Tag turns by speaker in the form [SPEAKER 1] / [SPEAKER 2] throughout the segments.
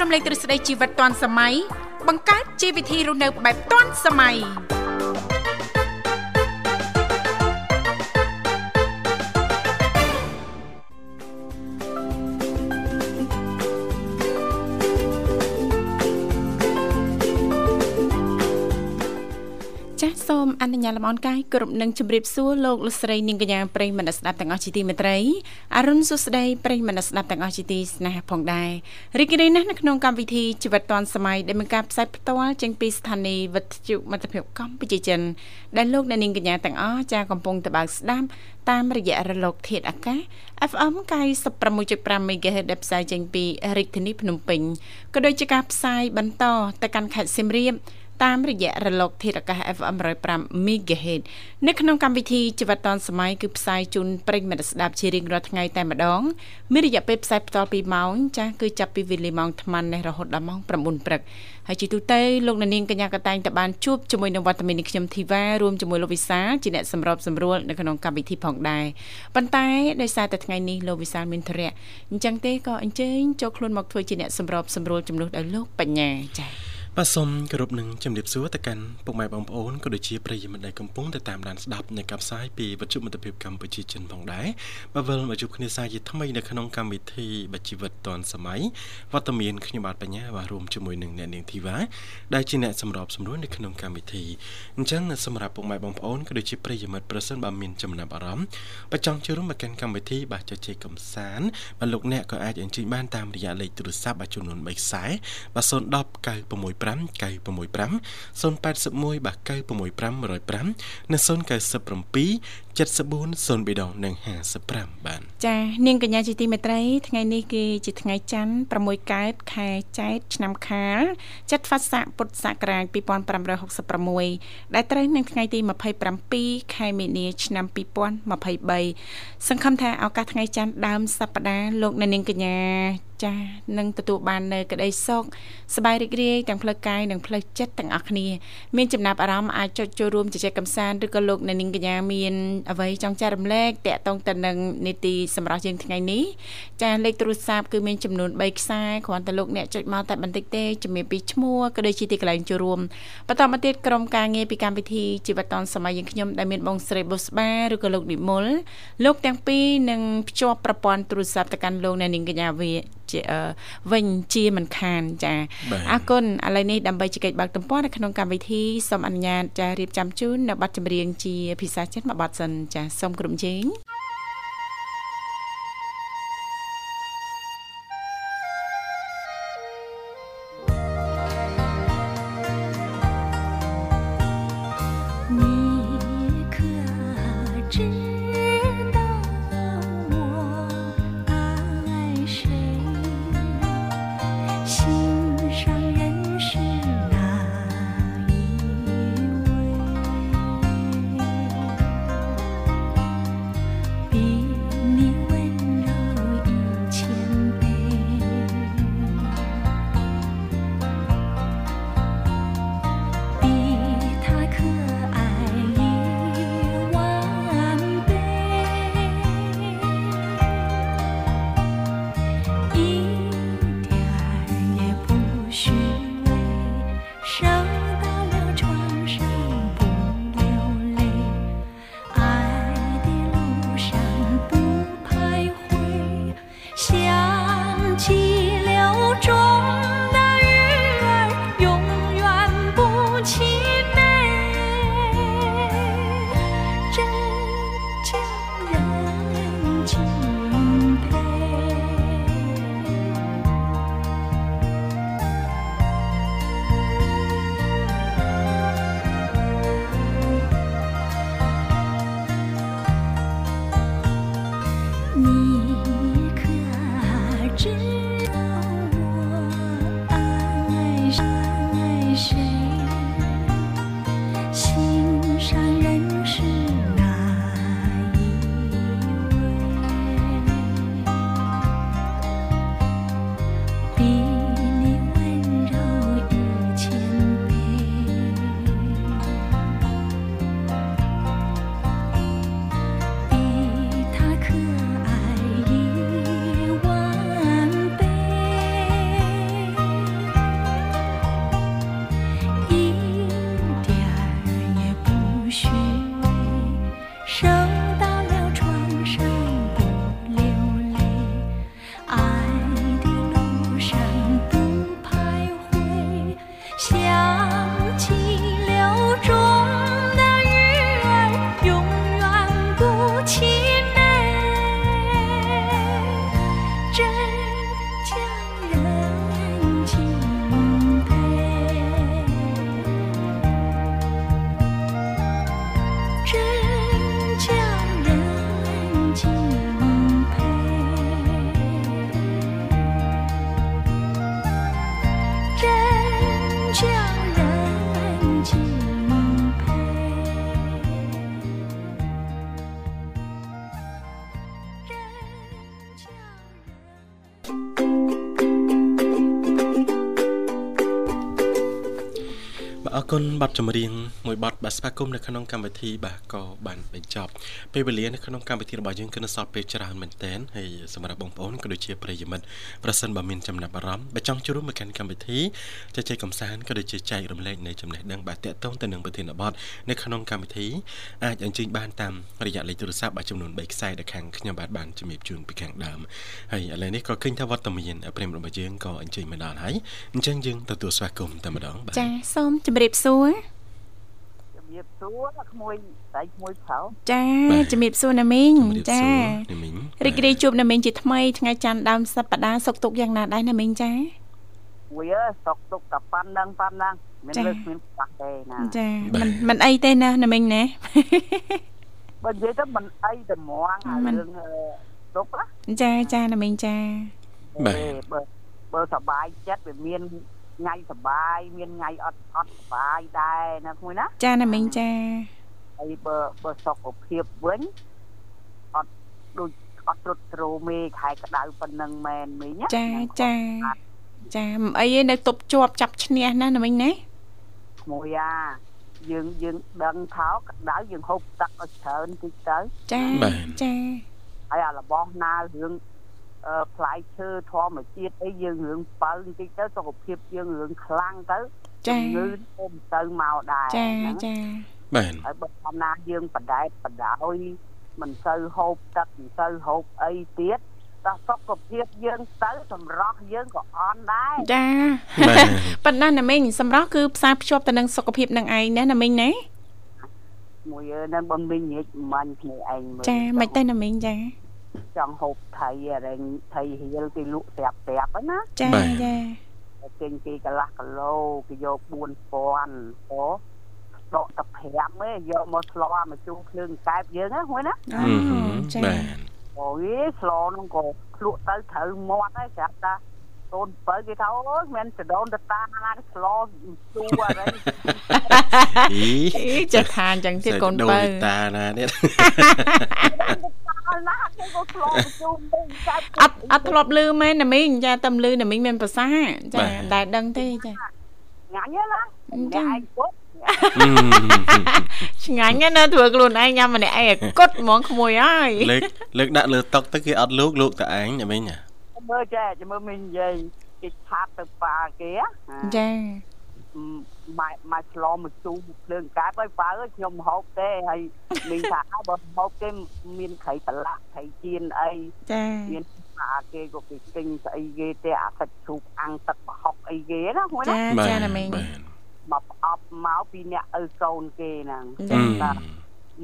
[SPEAKER 1] រំលែកទ្រឹស្ដីជីវិតទាន់សម័យបង្កើតជីវវិធីរស់នៅបែបទាន់សម័យចាសសូមអនុញ្ញាតលំអរកាយគ្រប់នឹងជម្រាបសួរលោកលោកស្រីនាងកញ្ញាប្រិយមនស្សស្ដាប់ទាំងអស់ជាទីមេត្រីអរុនសុស្ដីប្រិយមនស្សស្ដាប់ទាំងអស់ជាទីស្នេហាផងដែររីករាយណាស់នៅក្នុងកម្មវិធីជីវិតឌွန်សម័យដែលមានការផ្សាយផ្ទាល់ចេញពីស្ថានីយ៍វិទ្យុមិត្តភាពកម្ពុជាចិនដែលលោកអ្នកនាងកញ្ញាទាំងអស់ចាសកំពុងតបស្ដាប់តាមរយៈរលកធាតុអាកាស FM 96.5 MHz ដែលផ្សាយចេញពីរាជធានីភ្នំពេញក៏ដូចជាការផ្សាយបន្តទៅកាន់ខេត្តសៀមរាប តាមរយៈរលកធាតុអាកាស FM 105 MHz នៅក្នុងកម្មវិធីជីវិតឌុនសម័យគឺផ្សាយជូនប្រិញ្ញមិត្តស្ដាប់ជារៀងរាល់ថ្ងៃតែម្ដងមានរយៈពេលផ្សាយបន្តពីម៉ោងចាស់គឺចាប់ពីវេលាម៉ោង8:00នេះរហូតដល់ម៉ោង9:00ព្រឹកហើយជាទូទៅលោកអ្នកនាងកញ្ញាក៏តែងតែបានជួបជាមួយនឹងវត្តមាននេះខ្ញុំធីវ៉ារួមជាមួយលោកវិសាលជាអ្នកសម្របសម្រួលនៅក្នុងកម្មវិធីផងដែរប៉ុន្តែដោយសារតែថ្ងៃនេះលោកវិសាលមានធរៈអញ្ចឹងទេក៏អញ្ជើញចូលខ្លួនមកធ្វើជាអ្នកសម្របសម្រួលចំនួនដោយលោកបញ្ញាចា៎
[SPEAKER 2] បាទសូមគោរពនឹងជំរាបសួរទៅកាន់ពុកម៉ែបងប្អូនក៏ដូចជាប្រិយមិត្តដែលកំពុងតែតាមដានស្ដាប់នៅកម្មវិធីពីវិទ្យុមិត្តភាពកម្ពុជាចិនផងដែរបាទវិលមកជួបគ្នាសាជាថ្មីនៅក្នុងកម្មវិធីបាជីវិតឌွန်សម័យវត្តមានខ្ញុំបាទបញ្ញាបាទរួមជាមួយនឹងអ្នកនាងធីវ៉ាដែលជាអ្នកសម្របសម្រួលនៅក្នុងកម្មវិធីអញ្ចឹងសម្រាប់ពុកម៉ែបងប្អូនក៏ដូចជាប្រិយមិត្តប្រសិនបើមានចំណាប់អារម្មណ៍បាទចង់ចូលរួមមកកាន់កម្មវិធីបាទជជែកកម្សាន្តបាទលោកអ្នកក៏អាចអញ្ជើញបានតាមរយៈលេខទូរស័ព្ទបាទចំនួន3ខ្សែបាទ010 965 965 081បាទ965 105និង097 7403ដងនិង55បាទ
[SPEAKER 1] ចានាងកញ្ញាជាទីមេត្រីថ្ងៃនេះគឺជាថ្ងៃច័ន្ទ6កើតខែចែកឆ្នាំខាលចត្វាស័កពុទ្ធសករាជ2566ដែលត្រូវនឹងថ្ងៃទី27ខែមីនាឆ្នាំ2023សង្ឃឹមថាឱកាសថ្ងៃច័ន្ទដើមសប្តាហ៍លោកអ្នកនាងកញ្ញាចាស់នឹងទទួលបាននៅក្តីសុខសប្បាយរីករាយទាំងផ្លូវកាយនិងផ្លូវចិត្តទាំងអស់គ្នាមានចំណាប់អារម្មណ៍អាចចុចចូលរួមជជែកកម្សាន្តឬក៏លោកអ្នកនាងកញ្ញាមានអ្វីចង់ចែករំលែកតាក់ទងទៅនឹងនីតិសម្រាប់យើងថ្ងៃនេះចាស់លេខទូរស័ព្ទគឺមានចំនួន3ខ្សែគ្រាន់តែលោកអ្នកចុចមកតែបន្តិចទេជំរាបពីឈ្មោះក៏ដូចជាទីកន្លែងចូលរួមបន្តមកទៀតក្រុមការងារពីកម្មវិធីជីវិតឌុនសម័យយើងខ្ញុំដែលមានបងស្រីបុស្បាឬក៏លោកនិមលលោកទាំងពីរនឹងភ្ជាប់ប្រព័ន្ធទូរស័ព្ទទៅកាន់លោកអ្នកនាងកញ្ញាវាជាអឺវិញជាមិនខានចាអរគុណឥឡូវនេះដើម្បីជជែកបើកទំព័រនៅក្នុងកម្មវិធីសូមអនុញ្ញាតចារៀបចំជូននៅប័ណ្ណចម្រៀងជាភាសាចិនមួយប័ណ្ណសិនចាសូមក្រុមជេង
[SPEAKER 3] 你可知道我爱谁？心上人是哪一位？
[SPEAKER 2] គុណបទចម្រៀងមួយបទបាទស្វាគមន៍នៅក្នុងកម្មវិធីបាទក៏បានបញ្ចប់ពេលវេលានៅក្នុងកម្មវិធីរបស់យើងគឺនៅសល់ពេលច្រើនមែនទែនហើយសម្រាប់បងប្អូនក៏ដូចជាប្រិយមិត្តប្រសិនបើមានចំណាប់អារម្មណ៍បើចង់ចូលរួមមកកាន់កម្មវិធីចែកចែកកំសាន្តក៏ដូចជាចែករំលែកនៅចំណេះដឹងបាទតាក់ទងទៅនឹងប្រធានបទនៅក្នុងកម្មវិធីអាចអញ្ជើញបានតាមរយៈលេខទូរស័ព្ទបាទចំនួន3ខ្សែដែលខាងខ្ញុំបាទបានជំរាបជូនពីខាងដើមហើយឥឡូវនេះក៏ឃើញថាវត្តមានប្រិយមិត្តរបស់យើងក៏អញ្ជើញមកដល់ហើយអញ្ចឹងយើងទទួលស្វាគមន៍តែម្ដងបាទ
[SPEAKER 1] ចាសូមជម្រាបសួរ
[SPEAKER 4] ជំរាបសួរក្មួយស្រីក្មួយប្រុស
[SPEAKER 1] ចា
[SPEAKER 2] បាទ
[SPEAKER 1] ជម្រាបសួរណាមីង
[SPEAKER 2] ជំរាប
[SPEAKER 1] ចា
[SPEAKER 2] សួរនេះមីង
[SPEAKER 1] រីករាយជួបណាមីងជាថ្មីថ្ងៃច័ន្ទដើមសប្តាហ៍សុខទុក្ខយ៉ាងណាដែរណាមីងចា
[SPEAKER 4] មួយអើយសុកទុកកប៉ាន់នឹងប៉ាន់ណាមាន
[SPEAKER 1] ចា៎
[SPEAKER 4] លើគ្មានខ្វះទេណា
[SPEAKER 1] ចាមិនមិនអីទេណាណាមីងណា
[SPEAKER 4] បើនិយាយទៅមិនអីតែមងអា
[SPEAKER 1] មិន
[SPEAKER 4] រឿងអឺទុកណា
[SPEAKER 1] ចាចាណាមីងចា
[SPEAKER 2] បាទ
[SPEAKER 4] អេបើបើសบายចិត្តវាមានថ្ងៃសบายមានថ្ងៃអត់អត់សบายដែរណាក្មួយណា
[SPEAKER 1] ចាណាមីងចា
[SPEAKER 4] ហើយបើបើសុខភាពវិញអត់ដូចអត់ទ្រុតទ្រោមេខែក្តៅប៉ុណ្ណឹងមែនមីងណា
[SPEAKER 1] ចាចាចាមិនអីទេនៅទប់ជាប់ចាប់ឈ្នះណាណាមីងណា
[SPEAKER 4] ក្មួយអាយើងយើងដឹងថាក្តៅយើងហូបទឹកឲ្យច្រើនតិចទៅ
[SPEAKER 1] ចា
[SPEAKER 2] បាទ
[SPEAKER 1] ចា
[SPEAKER 4] ហើយអារបស់ណារឿងអឺផ្លែឈើធម្មជាតិអីយើងរឿងបើបន្តិចទៅសុខភាពយើងរឿងខ្លាំងទៅ
[SPEAKER 1] ចា
[SPEAKER 4] ជំងឺទៅទៅមកដែរ
[SPEAKER 1] ចា
[SPEAKER 4] ហ្នឹង
[SPEAKER 1] ចា
[SPEAKER 2] បាទ
[SPEAKER 4] ហើយបើធម្មតាយើងបដែតបដោយមិនសូវហូបទឹកមិនសូវហូបអីទៀតតោះសុខភាពយើងទៅសម្រស់យើងក៏អន់ដែរ
[SPEAKER 1] ចា
[SPEAKER 2] បាទ
[SPEAKER 1] ប៉ុន្តែណាមីងសម្រាប់គឺផ្សារភ្ជាប់ទៅនឹងសុខភាពនឹងឯងណាណាមីងណា
[SPEAKER 4] មួយយើងហ្នឹងបងមីងញិចមិនគ្នាឯងមើល
[SPEAKER 1] ចាមិនទេណាមីងចា
[SPEAKER 4] ចង់ហូបថៃអរិញថៃហៀលគេលក់ប្រាប់ប្រាប់ហ្នឹងណា
[SPEAKER 1] ចាចា
[SPEAKER 4] តែទិញគេកន្លះគីឡូគេយក4000អូដកទៅ5ឯងយកមកស្លោមកជូរភ្លើងកែបយើងហ្នឹងហ្នឹងណា
[SPEAKER 1] អូ
[SPEAKER 2] អឺហឹម
[SPEAKER 1] ចា
[SPEAKER 2] បាទ
[SPEAKER 4] អូយស្លោហ្នឹងក៏ភ្លក់ទៅត្រូវមាត់ហើយស្រាប់តាកូនបើគេថាអូយមិនចដូនតតាណាគេស្លោជូរអី
[SPEAKER 2] អី
[SPEAKER 1] អីចាខានចឹងទៀតកូនបើ
[SPEAKER 2] ដូវតាណានេះ
[SPEAKER 4] អល់ណាគេក៏ស្លោជូរភ្លើងកែបគេ
[SPEAKER 1] អត់អត់ធ្លាប់លឺមែនណាមីងចាតែលឺណាមីងមានប្រសាចាតែដឹងទេចា
[SPEAKER 4] ញ៉ាញ់
[SPEAKER 1] អ
[SPEAKER 4] ហ្នឹងណា
[SPEAKER 1] ញ្ចឹ
[SPEAKER 4] តែ
[SPEAKER 1] ង
[SPEAKER 4] ឯងពុត
[SPEAKER 2] ហឹម
[SPEAKER 1] ឆ្ងាញ់ណាស់ណាធ្វើខ្លួនឯងញ៉ាំម្នាក់ឯងឲ្យគត់ហ្មងក្មួយហើយ
[SPEAKER 2] លើកលើកដាក់លើតុកទៅគេអត់លោកលោកតែឯងអីមិញហ៎
[SPEAKER 4] មើលចេះចាំមើលមិញនិយាយគេឆាប់ទៅប៉ាគេហ៎
[SPEAKER 1] ចា
[SPEAKER 4] ម៉ែម៉ែឆ្លងមកជូរភ្លើងកែបហើយបើអើយខ្ញុំហូបទេហើយមានថាអើបើហូបទេមានໄខប្រឡាក់ໄខជៀនអី
[SPEAKER 1] ចា
[SPEAKER 4] មានអាគេក៏គេទិញស្អីគេទេអាសាច់ជ្រូកអាំងទឹកប្រហុកអីគេណាហ្នឹងណា
[SPEAKER 1] ចាចាណាមីង
[SPEAKER 2] បាទ
[SPEAKER 4] មកផ្អប់មកពីអ្នកឪកូនគេហ្នឹង
[SPEAKER 2] អឺ
[SPEAKER 1] ចា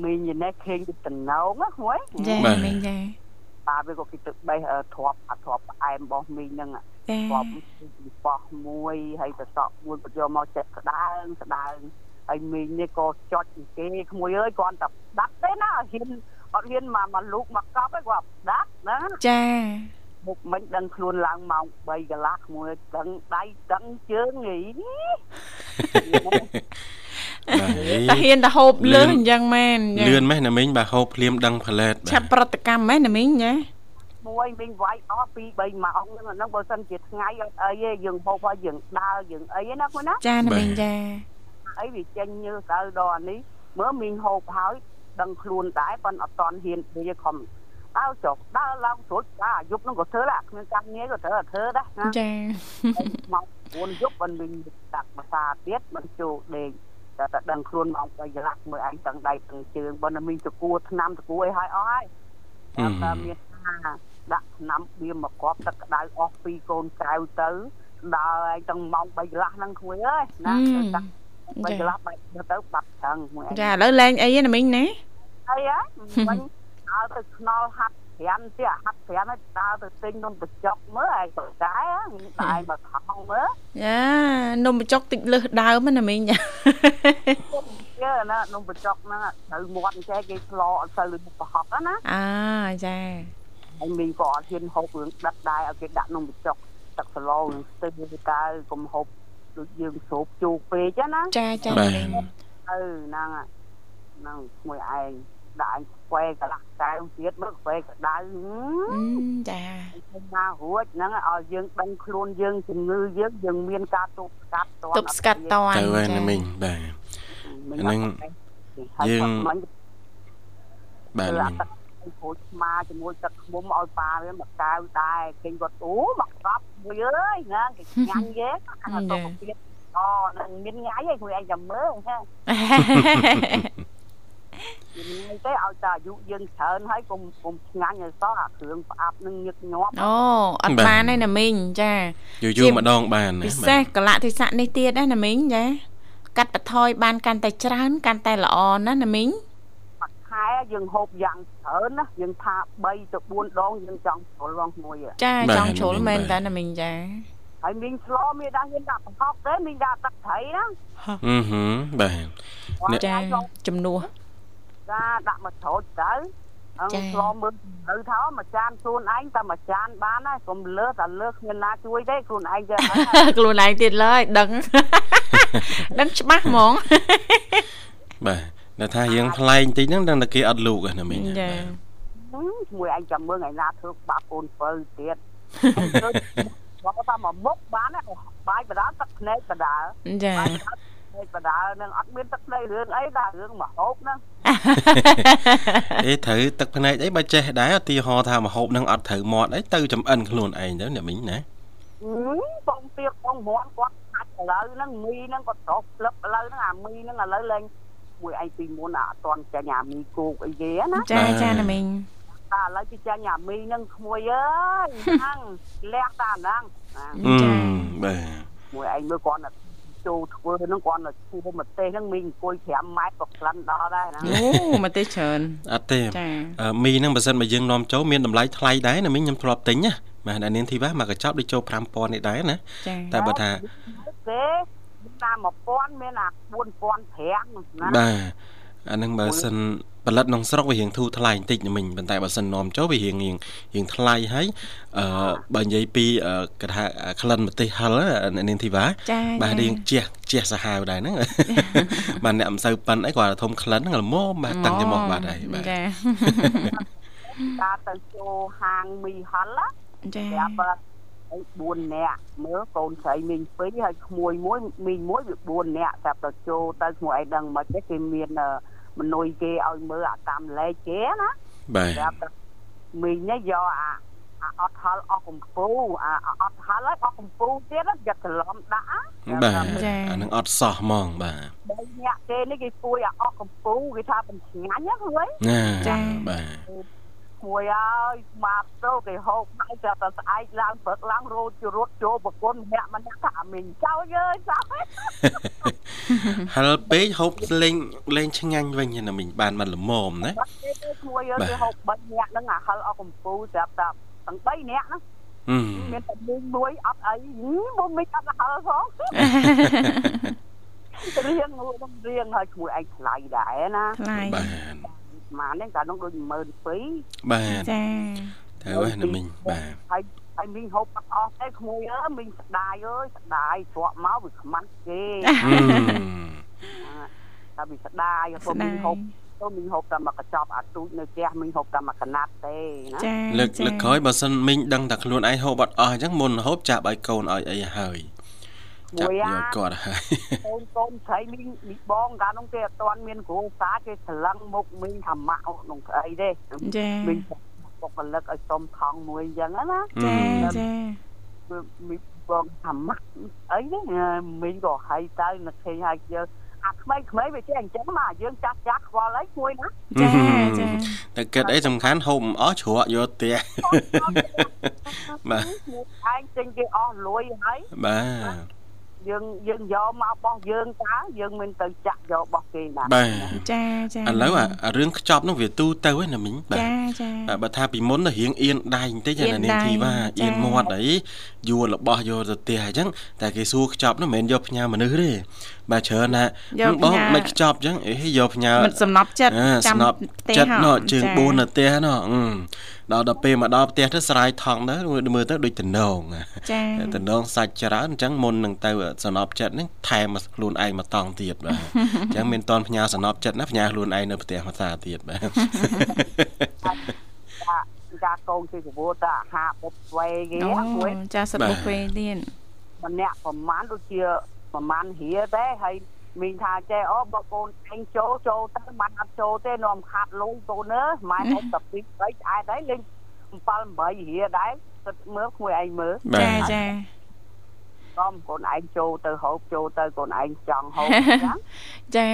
[SPEAKER 4] មីងនេះឃើញទៅតំណងណាហ្នឹង
[SPEAKER 1] ចា
[SPEAKER 2] បាទ
[SPEAKER 1] មីងចា
[SPEAKER 4] ប៉ាវាក៏គេទៅបេះអឺធ្រាប់អាធ្រាប់ផ្អែមរបស់មីងហ្នឹងអា
[SPEAKER 1] ចា
[SPEAKER 4] បបពីបោះមួយហើយទៅសក់មួយគាត់យកមកចេះស្ដើងស្ដើងហើយមីងនេះក៏ចុចគេក្មួយអើយគ្រាន់តែដាត់ទេណាអត់ហ៊ានអត់ហ៊ានមកមកលូកមកកប់ឯងគាត់ដាត់ណា
[SPEAKER 1] ចា
[SPEAKER 4] មុខមិញដឹងខ្លួនឡើងម៉ោង3កន្លះក្មួយដឹងដៃដឹងជើង ហី
[SPEAKER 2] បាទ
[SPEAKER 1] តាហ៊ានទៅហូបលឺ
[SPEAKER 2] លឿន
[SPEAKER 1] អញ្ចឹងមែនចា
[SPEAKER 2] លឿនម៉េះណាមីងបាទហូបភ្លាមដឹងផលិត
[SPEAKER 1] ឆាប់ប្រតិកម្មមែនណាមីងចា
[SPEAKER 4] មួយមីងវាយអស់2 3ម៉ោងហ្នឹងអាហ្នឹងបើសិនជាថ្ងៃអត់អីទេយើងហូបហើយយើងដើរយើងអីណាគាត់ណា
[SPEAKER 1] ចាណាមីងចា
[SPEAKER 4] អីវាចេញញើសទៅដល់អានេះមើលមីងហូបហើយដឹងខ្លួនដែរប៉ុន្តែអត់តន់ហ៊ានវាខំអើចុះដើរឡើងស្រួលចាយប់ហ្នឹងក៏ធ្វើដែរគ្មានការងារក៏ធ្វើធ្វើដែរណា
[SPEAKER 1] ចា
[SPEAKER 4] មក4យប់មិនវិញតាក់ភាសាទៀតមិនចូលដេកតែតែដឹងខ្លួនមកបីច្រឡាក់មើលឯងទាំងដៃទាំងជើងប៉ុន្តែមីងទៅគួរឆ្នាំទៅគួរអីហើយអស់ហើយតែមានថាដាក់ឆ្នាំវាមកគប់ទឹកក្តៅអស់ពីកូនកៅទៅដើរឯងទាំងម៉ោង3កន្លះហ្នឹងគួរអើយណា
[SPEAKER 1] អឺ
[SPEAKER 4] ទៅតាក់ បើច្រឡប់បែកទៅទៅបាត់ច្រឹងមួយឯង
[SPEAKER 1] ចាឥឡូវលេងអីណាមីងណា
[SPEAKER 4] អីហ៎មិនដើរទៅខ្នល់ហាត់ប្រាំទៀតហាត់ប្រាំហើយដើរទៅទិញនំបញ្ចុកមើលឯងបកែហ្នឹងដៃមកខំមើល
[SPEAKER 1] ចានំបញ្ចុកតិចលឹះដើមណាមីង ចា
[SPEAKER 4] យើណានំបញ្ចុកហ្នឹងត្រូវមាត់អញ្ចេះគេស្លោអត់ទៅលឺប្រហុកហ្នឹងណា
[SPEAKER 1] អាចា
[SPEAKER 4] ហើយមីងក៏អត់ហ៊ានហូបរឿងដិតដែរឲ្យគេដាក់នំបញ្ចុកទឹកស្លោនឹងស្ទឹងទៅកើកុំហូបដូចយើងស្រូបជូរពេកហ្នឹងណា
[SPEAKER 1] ចាចា
[SPEAKER 2] បា
[SPEAKER 1] ណា
[SPEAKER 2] ទ
[SPEAKER 1] មីង
[SPEAKER 4] ទៅហ្នឹងហើយហ្នឹងមួយឯងដាក់ឯងស្វែកន្លះកែវទៀតមើលស្វែកក្តៅហឹម
[SPEAKER 1] អឺចា
[SPEAKER 4] ម ណារួចហ្នឹងឲ្យយើងដឹងខ្លួនយើងជំងឺយើងយើងមានការទប់ស្កាត់ត
[SPEAKER 1] ទប់ស្កាត់ត
[SPEAKER 2] ទៅហើយណាមីងបាទ អាហ្នឹងយើង
[SPEAKER 4] មិន
[SPEAKER 2] បាទ
[SPEAKER 4] ឲ្យ
[SPEAKER 2] ណាមីង
[SPEAKER 4] អត់ទឹកឲ្យព្រួយស្មាជាមួយទឹកខ្មុំឲ្យប៉ាវាមកកៅដែរគេងគាត់អូមកស្រាប់មួយអើយហ្នឹងគេញ៉ាំយេអាទៅទៀតអូនឹងមានងាយឯងគួយឯងចាំមើលហ៎ ជំងឺទេឲ្យតែអាយុយើងច្រើនហើយកុំកុំឆ្ងាញ់ឲ្យសោះអាគ្រឿងផ្អាប់នឹងញឹកញាប់
[SPEAKER 1] អូអត់បានទេណាមីងចា
[SPEAKER 2] យូរយូរម្ដងបានណា
[SPEAKER 1] ពិ
[SPEAKER 2] បាទ
[SPEAKER 1] សេសកលៈទេសៈនេះទៀតណាណាមីងចាកាត់បន្ថយបានកាន់តែច្រើនកាន់តែល្អណាណាមីង
[SPEAKER 4] មួយខែយើងហូបយ៉ាងច្រើនណាយើងថា3ទៅ4ដងយើងចង់ប្រឡងមួយហ៎
[SPEAKER 1] ចាចង់ជ្រុលមែនតើណាមីងចា
[SPEAKER 4] ហើយមីងស្លោមីដាក់ហ៊ានដាក់បង្កប់ទេមីងដាក់ទឹកត្រីណា
[SPEAKER 2] អឺហឺបាទ អ្នក
[SPEAKER 1] ចាចំនួន
[SPEAKER 4] ចាដាក់មកច្រូតទៅ
[SPEAKER 1] ចា
[SPEAKER 4] អឺស្លោមើលទៅថាមួយចានខ្លួនឯងតែមួយចានបានហើយកុំលើសតែលើសគ្មានណាជួយទេខ្លួនឯងចេះហើយ
[SPEAKER 1] ខ្លួនឯងទៀតឡើយដឹង ដឹងច្បាស់ហ្មង
[SPEAKER 2] បាទដែលថាយើងប្លែកបន្តិចហ្នឹងដឹងតែគេអត់លោកហ្នឹងណា មីងណា
[SPEAKER 1] ចា
[SPEAKER 2] បាទ
[SPEAKER 4] ហ៊ឹមជាមួយឯងចាំមើលថ្ងៃណាធ្វើបាក់កូនពៅទៀតបងតាមមកមុខបានណាបាយបដាលទឹកភ្នែកបដាល
[SPEAKER 1] ចា
[SPEAKER 4] បាយបដាលទឹកភ្នែកបដាលនឹងអត់មានទឹកភ្នែករឿងអីដែររឿងមហូបហ្នឹង
[SPEAKER 2] អេត្រូវទឹកភ្នែកអីបើចេះដែរឧទាហរណ៍ថាមហូបនឹងអត់ត្រូវមាត់អីទៅចំអិនខ្លួនឯងទៅអ្នកមីងណា
[SPEAKER 4] ហ៊ឹមបងទៀកបងមន់គាត់ខាច់ឥឡូវហ្នឹងមីហ្នឹងគាត់ត្រោះផ្លឹបឥឡូវហ្នឹងអាមីហ្នឹងឥឡូវលែងមួយឯងពីមុនអាអត់តន់ចាញ់អាមីគោកអីគេណា
[SPEAKER 1] ចាចាណាមីង
[SPEAKER 4] តែឥឡូវគេចាញ់អាមីហ្នឹងក្មួយអើយ ហ្នឹងលះតាហ្នឹងណា
[SPEAKER 2] អឺ
[SPEAKER 1] ចា
[SPEAKER 2] បាទ
[SPEAKER 4] មួយឯងមើលគាត់ណាចូលធ្វើហ្នឹងគាត់ណាឈូប្រទេសហ្នឹងមីងអង្គុយ5ម៉ែត្រក៏ក្លិនដល់ដែរ ណា
[SPEAKER 1] អូមកទេច្រើន
[SPEAKER 2] អត់ទេ
[SPEAKER 1] ចា
[SPEAKER 2] អឺមីហ្នឹងបើសិនមកយើងនាំចូលមានតម្លៃថ្លៃដែរអ្នកមីងខ្ញុំធ្លាប់ទិញណាបាទអានាងធីវ៉ាមកកញ្ចប់ដូចចូល5000នេះដែរណា
[SPEAKER 1] ចា
[SPEAKER 2] តែបើថា
[SPEAKER 4] គេមានតាម1000មានអា4500ណា
[SPEAKER 2] បាទអានឹងបើសិនផលិតក្នុងស្រុកវារៀងធូរថ្លៃបន្តិចណាមីងប៉ុន្តែបើសិននាំចូលវារៀងរៀងរៀងថ្លៃហើយអឺបើនិយាយពីអឺគេថាក្លិនម្ទេសហិលណានាងធីវ៉ា
[SPEAKER 1] ចា
[SPEAKER 2] បាទរៀងជះជះសាហាវដែរហ្នឹង បាទអ្នកមិនសូវប៉ិនអីគាត់តែធំក្លិនហ្នឹងល្មមបាទតាំងជាមកបាទហើយបាទ
[SPEAKER 1] ចា
[SPEAKER 4] តាទៅចូលហាងមីហលណា
[SPEAKER 1] ចា
[SPEAKER 4] ប្រាប់អី4នាក់មើលកូនស្រីមីងពេញហើយក្មួយមួយមីងមួយវា4នាក់តែទៅចូលទៅក្មួយឯងដឹងមិនទេគេមានអឺមនុយគេឲ្យមើលអាកម្មលេខគេណា
[SPEAKER 2] បាទ
[SPEAKER 4] ប្រាប់ថាមីងនេះយកអាអាអត់ហល់អស់កម្ពូអាអាអត់ហល់ហើយអស់កម្ពូទៀតហ្នឹងយកច្រឡំដាក់អា
[SPEAKER 2] បាទអាហ្នឹងអត់សោះហ្មងបាទ
[SPEAKER 4] បីអ្នកគេនេះគេពួយអាអស់កម្ពូគេថាបញ្ឆ្ងាញ់ណាហ្នឹង
[SPEAKER 2] ណាបាទ
[SPEAKER 4] ពួយហើយស្មាតទៅគេហូបហើយចាប់តែស្អែកឡើងព្រឹកឡើងរោជរត់ចូលប្រគុណម្នាក់ម្នាក់ថាអាមីងចោលយើយសាប់ហេ
[SPEAKER 2] ហិលពេកហូបលេងលេងឆ្ងាញ់វិញណាមិញបានបានល្មមណា
[SPEAKER 4] បាត់គេទៅពួយយើយ
[SPEAKER 2] បាទ
[SPEAKER 4] គេហូបបាត់អ្នកហ្នឹងអាហល់អស់កម្ពូស្រាប់តែទាំង3នាក់ហ្នឹង
[SPEAKER 2] អឺ
[SPEAKER 4] មានតែមីងមួយអត់អីហ៊ឺមកមីងអត់ហល់ផង រៀងនោះនឹងរៀងហើយឈ្មោះឯងថ្លៃដែរណា
[SPEAKER 1] ថ្លៃ
[SPEAKER 2] បាទ
[SPEAKER 4] ស្មានហ្នឹងកាលនោះដូច12000
[SPEAKER 2] បាទ
[SPEAKER 1] ចា
[SPEAKER 2] ត្រូវហើយណាមិញបាទ
[SPEAKER 4] ហើយហើយមីងហូបអត់អស់ទេឈ្មោះអើយមីងស្ដាយអើយស្ដាយស្រក់មកវាខ្មាស់គេ
[SPEAKER 2] អឺ
[SPEAKER 4] តែវាស្ដាយព្រោះមីងហូបទៅមីងហូបតែមកកញ្ចប់អាទូចនៅផ្ទះមីងហូបតែមកកណាត់ទេណា
[SPEAKER 1] ចា
[SPEAKER 2] លើក
[SPEAKER 1] ចា
[SPEAKER 2] លើកក្រោយបើសិនមិញដឹងតែខ្លួនឯងហូបអត់អស់អញ្ចឹងមុនហូបចាប់ឲ្យកូនឲ្យអីហើយចាប់
[SPEAKER 4] មួយ
[SPEAKER 2] យក
[SPEAKER 4] អា
[SPEAKER 2] គាត់ហើយក
[SPEAKER 4] ូនកូនស្រីមីងមីបងកាលនោះគេអត់ទាន់មានគ្រូសាគេស្រឡឹងមុខមីងថាម៉ាក់អត់នោះស្អីទេ
[SPEAKER 1] ចា
[SPEAKER 4] មីងបុគ្គលិកឲ្យសុំខំមួយអញ្ចឹងណា
[SPEAKER 1] ចា
[SPEAKER 2] អឺ
[SPEAKER 1] ចា
[SPEAKER 4] មើលមីបងអាម៉ាក់អីហ្នឹងអឺមីងក៏ហើយទៅនឹកឃើញហើយយើងអាក្មេងៗវាចេះអញ្ចឹងមកយើងចាស់ចាស់ខ្វល់អីមួយណា
[SPEAKER 1] ចាចា
[SPEAKER 2] តែគិតអីសំខាន់ហូបមិនអស់ជ្រក់យកផ្ទះ បាទ
[SPEAKER 4] ខ្លួនឯងចេញគេអស់លុយហើយ
[SPEAKER 2] បាទ
[SPEAKER 4] យើងយើងយកមករបស់យើងតើយើងមិនទៅចាក់យករបស់គេណា
[SPEAKER 2] បាទ
[SPEAKER 1] ចាចា
[SPEAKER 2] ឥឡូវអាអារឿងខ្ចប់នោះវាទូទៅហ្នឹងណាមីងបាទ
[SPEAKER 1] ចាចា
[SPEAKER 2] បាទបើថាពីមុនទៅរៀងអៀនដៃបន្តិច
[SPEAKER 1] អៀ
[SPEAKER 2] អា
[SPEAKER 1] ន
[SPEAKER 2] នាង
[SPEAKER 1] ដៃ
[SPEAKER 2] ធីវ៉ា
[SPEAKER 1] ចា៎
[SPEAKER 2] អៀនមាត់អីយួររបស់យកទៅផ្ទះអញ្ចឹងតែគេសួរខ្ចប់នោះមិនមែនយកផ្ញើមនុស្សទេបាទច្រើនណាស់
[SPEAKER 1] យក
[SPEAKER 2] បង
[SPEAKER 1] ផ្ញើ
[SPEAKER 2] មិនខ្ចប់អញ្ចឹងអេយកផ្ញើ
[SPEAKER 1] មិនសំណប់ចិត្ត
[SPEAKER 2] អា
[SPEAKER 1] ចាំ
[SPEAKER 2] ស្នប់
[SPEAKER 1] ផ្ទះ
[SPEAKER 2] ចិត្ត
[SPEAKER 1] ហោ
[SPEAKER 2] ណោះជើង
[SPEAKER 1] ចា
[SPEAKER 2] បួននៅផ្ទះណោះអឺដល់ដល់ពេលមកដល់ផ្ទះទៅស្រាយថងទៅមើលទៅដូចតំណង
[SPEAKER 1] ចា
[SPEAKER 2] តំណងសាច់ច្រើនអញ្ចឹងមុននឹងទៅសន្នប់ចិត្តហ្នឹងថែមមកខ្លួនឯងមកតង់ទៀតបាទ អញ្ចឹងមានតនផ្ញើ សន្នប់ចិត្តណាផ្ញើខ្លួនឯងនៅផ្ទះមកសាទៀតបាទ
[SPEAKER 4] ចា ចាកងគេកវតអាហារបុបវេគេ
[SPEAKER 1] អូ
[SPEAKER 4] មួយ
[SPEAKER 1] ចាសសិត
[SPEAKER 2] បាទ
[SPEAKER 1] បុកវេលាន
[SPEAKER 4] ម្នាក់ប្រមាណដូចជាប្រមាណហៀទេហើយមីងថាចេះអូបងប្អូនអញចូលចូលទៅមិនអត់ចូលទេនាំខាត់លុយបងប្អូនអើយម៉ែអញ12 3ឆ្អែតហើយលេង7 8ហៀដែរគិតមើលគួយឯងមើល
[SPEAKER 2] បាទ
[SPEAKER 1] ចាចា
[SPEAKER 4] ក៏កូនឯងចូលទៅហូបចូលទៅកូនឯងចង់ហូបអញ្ចឹង
[SPEAKER 1] ចា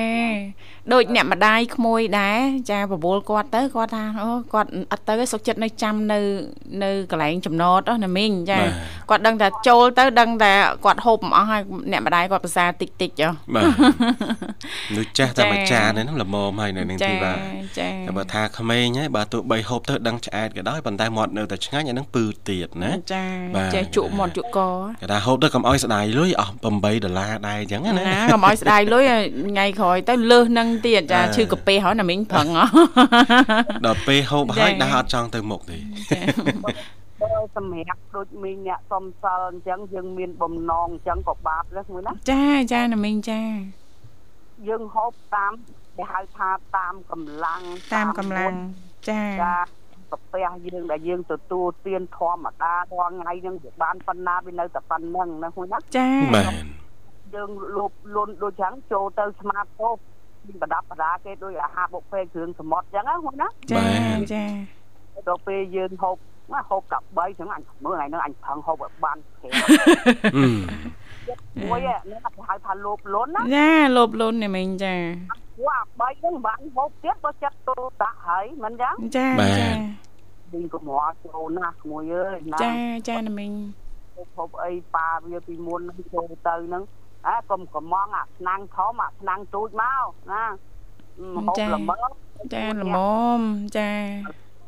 [SPEAKER 1] ដូចអ្នកម្ដាយក្មួយដែរចាប្រវល់គាត់ទៅគាត់ថាអូគាត់អត់ទៅទេសុខចិត្តនៅចាំនៅនៅកន្លែងចំណតហ្នឹងណាមីងចាគា
[SPEAKER 2] បាទ
[SPEAKER 1] ត់ដឹងតែចូលទៅដឹងតែគាត់ហូបមិនអស់ហើយអ្នកម្ដាយគាត់ប្រសាតិចតិចចុះ
[SPEAKER 2] បាទនោះចាស់តែមួយ
[SPEAKER 1] ចា
[SPEAKER 2] ចានហ្នឹងល្មមហើយនៅនឹងទីបាទ
[SPEAKER 1] ចា
[SPEAKER 2] តែបើថាក្មេងហើយបើទោះបីហូបទៅដឹងឆ្អែតក៏ដោយប៉ុន្តែមាត់នៅតែឆ្ងាញ់អាហ្នឹងពឺទៀតណា
[SPEAKER 1] ចា
[SPEAKER 2] បាទ
[SPEAKER 1] ចេះជក់មាត់ជក់ក
[SPEAKER 2] គេថាហូបទៅកុំឲ្យស្ដាយលុយអស់8ដុល្លារដែរអញ្ចឹងណា
[SPEAKER 1] ណាកុំឲ្យស្ដាយលុយថ្ងៃក្រោយទៅលើសនឹងទៀតចា
[SPEAKER 2] អ่า
[SPEAKER 1] ឈឺកាពេហើយណាមីងប្រឹង ហ៎
[SPEAKER 2] ដល់ពេលហូបហើយ
[SPEAKER 1] ចា
[SPEAKER 2] ដាស់អត់ចង់ទៅមុខទេ
[SPEAKER 1] ចា
[SPEAKER 4] បើសម្រាប់ដូចមីងអ្នកសំសល់អញ្ចឹងយើងមានបំណងអញ្ចឹងក៏បាបដែរមួយណា
[SPEAKER 1] ចាចាណាមីងចា
[SPEAKER 4] យើងហូបតាមគេហៅថាតាមកម្លាំង
[SPEAKER 1] តាមកម្លាំងចា
[SPEAKER 4] បុណ្យចាប្រពះយើងដែលយើងទទួលទានធម្មតារាល់ថ្ងៃហ្នឹងវាបានប៉ុណ្ណាវានៅតែប៉ុណ្្នឹងណាមួយណា
[SPEAKER 1] ចា
[SPEAKER 2] បាទ
[SPEAKER 4] យើងលោបលន់ដូចចឹងចូលទៅស្មាតហូបមានប្រដាប់ប្រដាគេដូចអាហារបុកពេគ្រឿងសមុទ្រចឹងណាមួយណា
[SPEAKER 1] ចាចា
[SPEAKER 4] ដល់ពេលយើងហូបណាហូបកាបីចឹងអញមើលថ្ងៃហ្នឹងអញផឹងហូបឲ្យបានព្រេង
[SPEAKER 2] អឺ
[SPEAKER 4] មួយហ្នឹងគេហៅថាលោបលន់ណា
[SPEAKER 1] ចាលោបលន់ណាមីងចា
[SPEAKER 4] ព្រោះអាបីហ្នឹងបានហូបទៀតបើចិត្តទូដាក់ហើយមិនយ៉ាង
[SPEAKER 1] ចាចា
[SPEAKER 4] ពីកម្រចូលណាស់មួយអើយណា
[SPEAKER 1] ចាចាណាមីង
[SPEAKER 4] ហូបហូបអីប៉ាវាពីមុនហ្នឹងចូលទៅហ្នឹងអាកុំកំងអាឆ្នាំងធំអាឆ្នាំងទូចមកណាអឺហូបល្មើ
[SPEAKER 1] ចាល្មមចា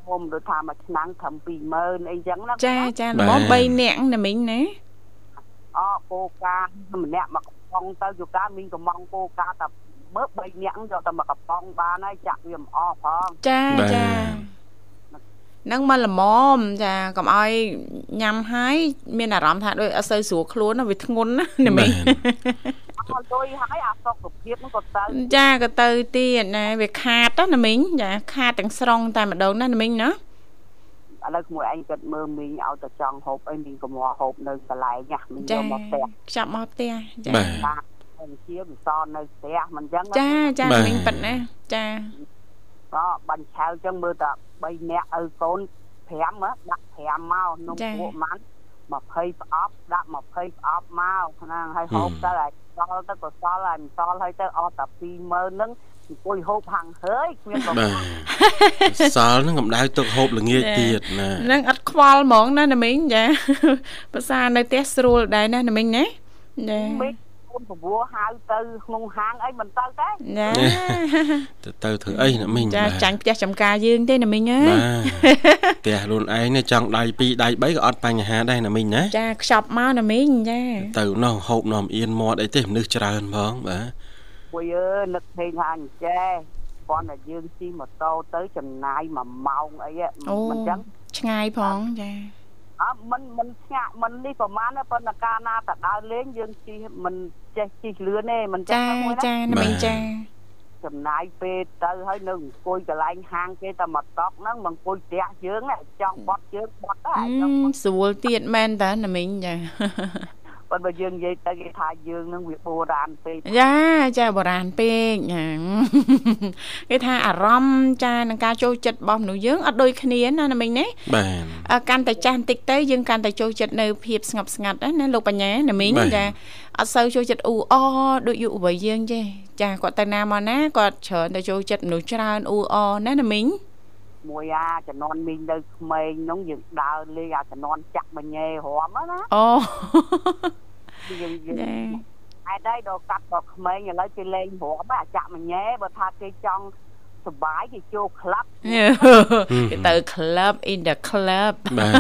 [SPEAKER 4] ខ្ញុំដូចថាមួយឆ្នាំងត្រឹម20000អីចឹងណា
[SPEAKER 1] ចាចាល្មម3នាក់ណាមីងណា
[SPEAKER 4] អូគោការម្នាក់មកកំប៉ុងទៅយូការមានកំងគោការតែមើល3នាក់ហ្នឹងយកតែមកកំប៉ុងបានហើយចាក់វាមិនអស់ផង
[SPEAKER 1] ចាចានឹងមកល្មមចាកុំឲ្យញ៉ាំហើយមានអារម្មណ៍ថាដូចអត់សូវស្រួលខ្លួនណាវាធ្ងន់ណាណាមីង
[SPEAKER 4] អស់លុយហើយអាសុខភាពហ្នឹងក៏ទៅ
[SPEAKER 1] ចាក៏ទៅទៀតណាវាខាតណាមីងចាខាតទាំងស្រុងតែម្ដងណាណាមីងណា
[SPEAKER 4] ឥឡូវក្មួយឯងគាត់មើលមីងឲ្យតែចង់ហូបអីមីងក៏មកហូបនៅកន្លែងណាមីងយក
[SPEAKER 1] ចា
[SPEAKER 4] មកផ្ទះ
[SPEAKER 1] ខ្ចប់មកផ្ទះ
[SPEAKER 2] បា
[SPEAKER 1] ចា
[SPEAKER 2] ទ
[SPEAKER 4] បាទហើយជាវាសននៅផ្ទះមិនអញ្ចឹង
[SPEAKER 1] ចាចា
[SPEAKER 2] បាទ
[SPEAKER 1] ណាមីងប៉ិតណាចា
[SPEAKER 4] ក៏បាញ់ឆៅអញ្ចឹងមើលតែ3នាក់ឪកូន5ហ៎ដាក់5មកនំពួកមិន20ប្រអប់ដាក់20ប្រអប់មកហ្នឹងហើយហូបទៅហើយសល់ទៅក៏សល់ហើយមិនសល់ហើយទៅអស់តែ20000ហ្នឹងអង្គុយហូបហាំងហើយគ្មានប្រ
[SPEAKER 2] បា
[SPEAKER 4] មា
[SPEAKER 2] ទ
[SPEAKER 4] ណ
[SPEAKER 2] សល់ហ្នឹងកម្ដៅទឹកហូបល្ងាចទៀតណា
[SPEAKER 1] នឹងអត់ខ្វល់ហ្មងណាណាមីងចាភាសានៅផ្ទះស្រួលដែរណាណាមីងណាចា
[SPEAKER 4] មីងអូនប្រវោហៅទៅក្នុងហាងអីមិនទៅទេ
[SPEAKER 1] ចា
[SPEAKER 2] ទៅទៅធ្វើអីណាមីង
[SPEAKER 1] ចា
[SPEAKER 2] បាទ
[SPEAKER 1] ចាញ់ផ្ទះចំការយើងទេណាមីងអើយ
[SPEAKER 2] បាទផ្ទះខ្លួនឯងនេះចង់ដៃ2ដៃ3ក៏អត់បញ្ហាដែរណាមីងណា
[SPEAKER 1] ចាខ្ចប់មកណាមីងចា
[SPEAKER 2] ទៅនោះហូបនំអៀនមាត់អីទេមនុស្សច្រើនផងបាទ
[SPEAKER 4] គួយអើយនឹកឃើញថាអញ្ចេះប៉ុន្តែយើងជិះម៉ូតូទៅចំណាយ1ម៉ោងអីហ៎
[SPEAKER 1] អូ
[SPEAKER 4] មិនចឹង
[SPEAKER 1] ឆ្ងាយផងចា
[SPEAKER 4] អើមិនមិនស្ងាក់មិននេះប្រហែលប៉ុន្តែកាលណាតដើរលេងយើងជិះមិនចេះជិះលឿនទេមិនចេះ
[SPEAKER 1] ចា
[SPEAKER 4] ទៅមួយណា
[SPEAKER 1] ចាណាមីងចា
[SPEAKER 4] ចំណាយពេលទៅហើយនៅអង្គុយកន្លែងហាងគេតែមកតក់ហ្នឹងមកអង្គុយផ្ទះយើងណាចង់បត់ជើងបត់ទៅអា
[SPEAKER 1] អឺ
[SPEAKER 4] ចង់បត់
[SPEAKER 1] ស្រួលទៀតមែនតាណាមីងចា
[SPEAKER 4] ប៉ុន្តែបើយើងនិយាយទៅគេថាយើងហ្នឹងវាបូរាណពេក
[SPEAKER 1] ចាចាបុរាណពេកណា គេថាអារម្មណ៍ចានឹងការចូលចិត្តរបស់មនុស្សយើងអត់ដូចគ្នាណាណាមិញណា
[SPEAKER 2] បាទ
[SPEAKER 1] អ่าកាន់តែចាស់បន្តិចទៅយើងកាន់តែចូលចិត្តនៅភាពស្ងប់ស្ងាត់ណាណាលោកបញ្ញាណាមិញចាអត់សូវចូលចិត្តអ៊ូអដូចយុវវ័យយើងទេចាគាត់ទៅណាមកណាគាត់ច្រើនតែចូលចិត្តមនុស្សច្រើនអ៊ូអណាណាមិញ
[SPEAKER 4] មួយអាចំនួនមីងនៅក្មេងហ្នឹងយើងដើរលេងអាចំនួនចាក់មញ៉េរំហ្នឹងណា
[SPEAKER 1] អូ
[SPEAKER 4] យើងយើង
[SPEAKER 1] ចា
[SPEAKER 4] ហេតុអីដល់កាត់ដល់ក្មេងឥឡូវគេលេងរាប់អាចាក់មញ៉េបើថាគេចង់សុបាយគេចូលក្លាប់
[SPEAKER 1] គេទៅ club in the club
[SPEAKER 2] បាទ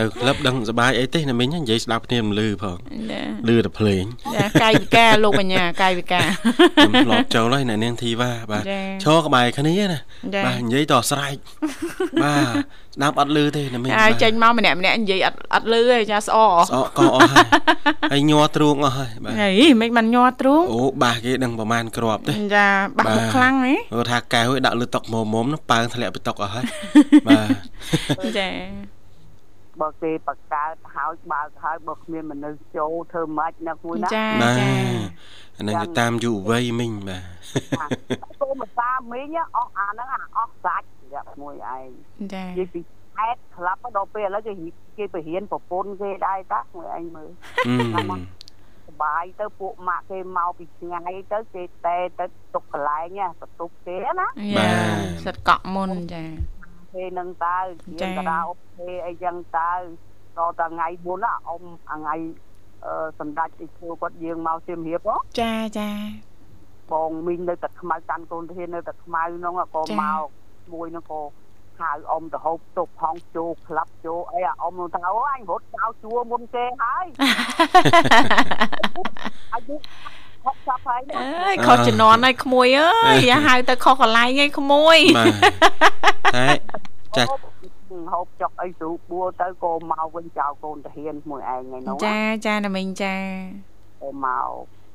[SPEAKER 2] ទៅក្លឹបដឹងសบายអីទេណាមីងណានិយាយស្ដាប់គ្នាមិនលឺផង
[SPEAKER 1] ចា
[SPEAKER 2] លឺតែភ្លេង
[SPEAKER 1] ចាកាយវិការលោកបញ្ញាកាយវិ ការ
[SPEAKER 2] ខ្ញុំធ្លាប់ចូលហើយអ្នកនាងធីវ៉ាបាទ
[SPEAKER 1] ចា
[SPEAKER 2] ឈរក្បែរគ្នាណា
[SPEAKER 1] ចា
[SPEAKER 2] បាទនិយាយតស្រែក បាទស្ដាប់អត់លឺទេណាមីង
[SPEAKER 1] ហើយ
[SPEAKER 2] បាទ
[SPEAKER 1] ចេញមកម្នាក់ម្នាក់និយាយអត់អត់លឺទេចាស្អ
[SPEAKER 2] ស្អកកអស់ហើយហើយញ័រទ្រូងអស់ហើយបាទ
[SPEAKER 1] ហីមិនបានញ័រទ្រូង
[SPEAKER 2] អូបាសគេដឹងប្រមាណគ្រាប់ទេ
[SPEAKER 1] ចាបាក់មុខខ្លាំងហ៎
[SPEAKER 2] គាត់ថាកែវឲ្យដាក់លើតុកមុំមុំហ្នឹងប៉ើងធ្លាក់ពីតុកអស់ហើយ បាទ
[SPEAKER 1] ចា
[SPEAKER 4] បើគេបង្កើតហើយបើកហើយបើគ្មានមនុស្សចូលធ្វើម៉េចណាគួយណា
[SPEAKER 1] ចា
[SPEAKER 2] បាទ
[SPEAKER 1] ចា
[SPEAKER 2] អាហ្នឹងទៅតាមយុវវ័យមិញបាទ
[SPEAKER 4] គោមសាមីងអស់អាហ្នឹងអាអស់សាច់រយៈមួយឯង
[SPEAKER 1] ចា
[SPEAKER 4] និយាយពីខេតក្លាប់ដល់ពេលឥឡូវគេគេបរិញ្ញាប្រពន្ធគេដែរតាមួយឯងមើល
[SPEAKER 2] អឺ
[SPEAKER 4] សបាយទៅពួកម៉ាក់គេមកពីឆ្ងាយទៅគេតែទៅទុកកន្លែងហ្នឹងបន្ទប់គេណា
[SPEAKER 1] យ៉ាសិតកក់មុនចា
[SPEAKER 4] គេនឹងទៅ
[SPEAKER 1] ចា៎
[SPEAKER 4] ជាតារាអូខេអីចឹងទៅដល់តែថ្ងៃមុនណាអ៊ំថ្ងៃអឺសម្ដេចអ៊ីឈូគាត់យាងមកសៀមរាបហ៎
[SPEAKER 1] ចាចា
[SPEAKER 4] បងមីងនៅតែខ្មៅកាន់កូនធាននៅតែខ្មៅហ្នឹងហ៎ក៏មកមួយហ្នឹងក៏ហៅអ៊ំទៅហូបទុកហងជោក្លឹបជោអីអាអ៊ំហ្នឹងថាអូអញរត់ចោលជួរមុនគេ ហើយអាយុ60ហើយណា
[SPEAKER 1] អើ យខុសជំនាន់ហើយក្មួយអើយយ៉ាហៅទៅខុសកន្លែងហើយក្មួយ
[SPEAKER 2] បាទតែចាស់
[SPEAKER 4] ហូបហូបចុកអីស្រូបបួលទៅក៏មកវិញចោលកូនតាហ៊ានមួយឯងឯនោះ
[SPEAKER 1] ចាចាណាមីងចា
[SPEAKER 4] ក៏មក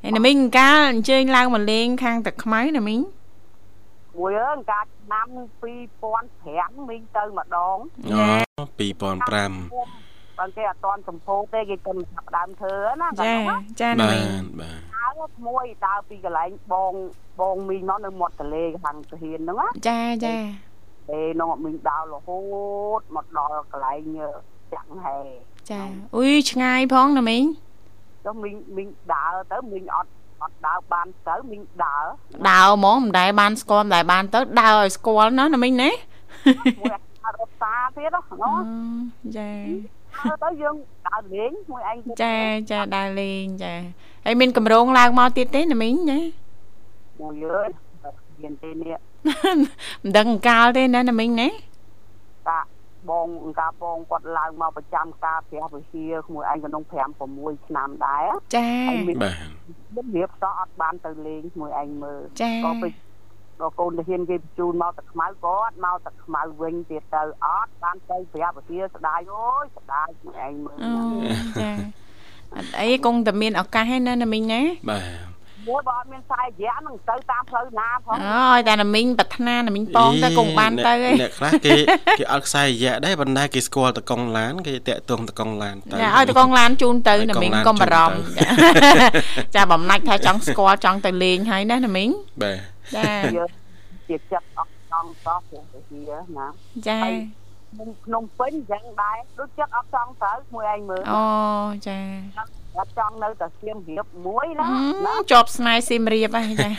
[SPEAKER 1] ហើយណាមីងកាលអញ្ជើញឡើងមកលេងខាងទឹកខ្មៅណាមីង
[SPEAKER 4] មួយអើងកាលឆ្នាំ2005មីងទៅម្ដង
[SPEAKER 2] អូ2005
[SPEAKER 4] បើគេអត់តន់សម្ពោធទេគេគិតថាផ្ដើមធ្វើណា
[SPEAKER 1] ចា
[SPEAKER 4] នោះណា
[SPEAKER 1] ចាណា
[SPEAKER 2] បា
[SPEAKER 1] មីង
[SPEAKER 2] ទបាទ
[SPEAKER 4] ដើរមួយដើរពីកន្លែងបងបងមីងនោះនៅមាត់ទន្លេខាងតាហ៊ានហ្នឹងណា
[SPEAKER 1] ចាចា
[SPEAKER 4] ពេលនោះមីងដើររហូតមកដល់កន្លែងចាក់ហែ
[SPEAKER 1] ចាអុយឆ្ងាយផងណាមីង
[SPEAKER 4] ចុះមីងមីងដើរទៅមីងអត់អត់ដើរបានទៅមីងដើរ
[SPEAKER 1] ដើរហ្មងមិនដែលបានស្គាល់មិនដែលបានទៅដើរឲ្យស្គាល់ណាណាមីងណា
[SPEAKER 4] មួយអាហាររត់សាទៀតហ៎ណោះ
[SPEAKER 1] អឺចា
[SPEAKER 4] ដើរទៅយើងដើរលេងមួយឯងទៀត
[SPEAKER 1] ចាចាដើរលេងចាហើយមានកម្រងឡើងមកទៀតទេណាមីងណា
[SPEAKER 4] មួយយើងមានទេនេះ
[SPEAKER 1] មិនដឹងអង្កាលទេណាណាមីងណា
[SPEAKER 4] តាបងអង្ការបងគាត់ឡើងមកប្រចាំការព្រះវិហារមួយឯងក្នុង5 6ឆ្នាំដែរ
[SPEAKER 1] ចា
[SPEAKER 4] ហើយមាន
[SPEAKER 2] បាទ
[SPEAKER 4] មានរៀបសោះអត់បានទៅលេងមួយឯងមើល
[SPEAKER 1] ចា
[SPEAKER 4] ក៏ទៅដល់កូនទាហានគេបញ្ជូនមកតែខ្មៅគាត់មកតែខ្មៅវិញទៀតទៅអត់បានទៅព្រះវិហារស្ដាយអូយស្ដាយមួយឯងមើល
[SPEAKER 1] អូចាអត់អីគង់តែមានឱកាសឯណាណាមីងណា
[SPEAKER 2] បាទ
[SPEAKER 4] មួយបើអត់មានខ្សែរយៈហ្នឹងទៅតាមផ្លូវណាផង
[SPEAKER 1] អូឲ្យតែណាមីងប្រាថ្នាណាមីងបងតែគង់បានទៅឯង
[SPEAKER 2] អ្នកខ្លះគេគេអត់ខ្សែរយៈដែរប៉ុន្តែគេស្គាល់តកង់ឡានគេតាក់ទងតកង់ឡានទៅ
[SPEAKER 1] ចាឲ្យតកងឡានជូនទៅណា
[SPEAKER 2] ឲ្យកង
[SPEAKER 1] មីង
[SPEAKER 2] ឡាន
[SPEAKER 1] កុំបារម្ភ
[SPEAKER 2] ជូនទៅ
[SPEAKER 1] ចា ចាបំណាច់ថាចង់ស្គាល់ចង់ទៅលេងហើយណាណាមីង
[SPEAKER 2] បាទ
[SPEAKER 1] ចា
[SPEAKER 4] យើងជាចិត្តអត់ចង់សោះព្រះវិហារណា
[SPEAKER 1] ចា
[SPEAKER 4] ខ្ញុំខ្ញុំពេញអញ្ចឹងដែរដូចចិត្តអត់ចង់ទៅមួយឯងមើល
[SPEAKER 1] អូចា
[SPEAKER 4] អត់ចង់នៅតែសៀមរាបមួយណា
[SPEAKER 1] អឺ
[SPEAKER 4] ណា
[SPEAKER 1] ជាប់ស្នែស៊ីមរៀបហើយចា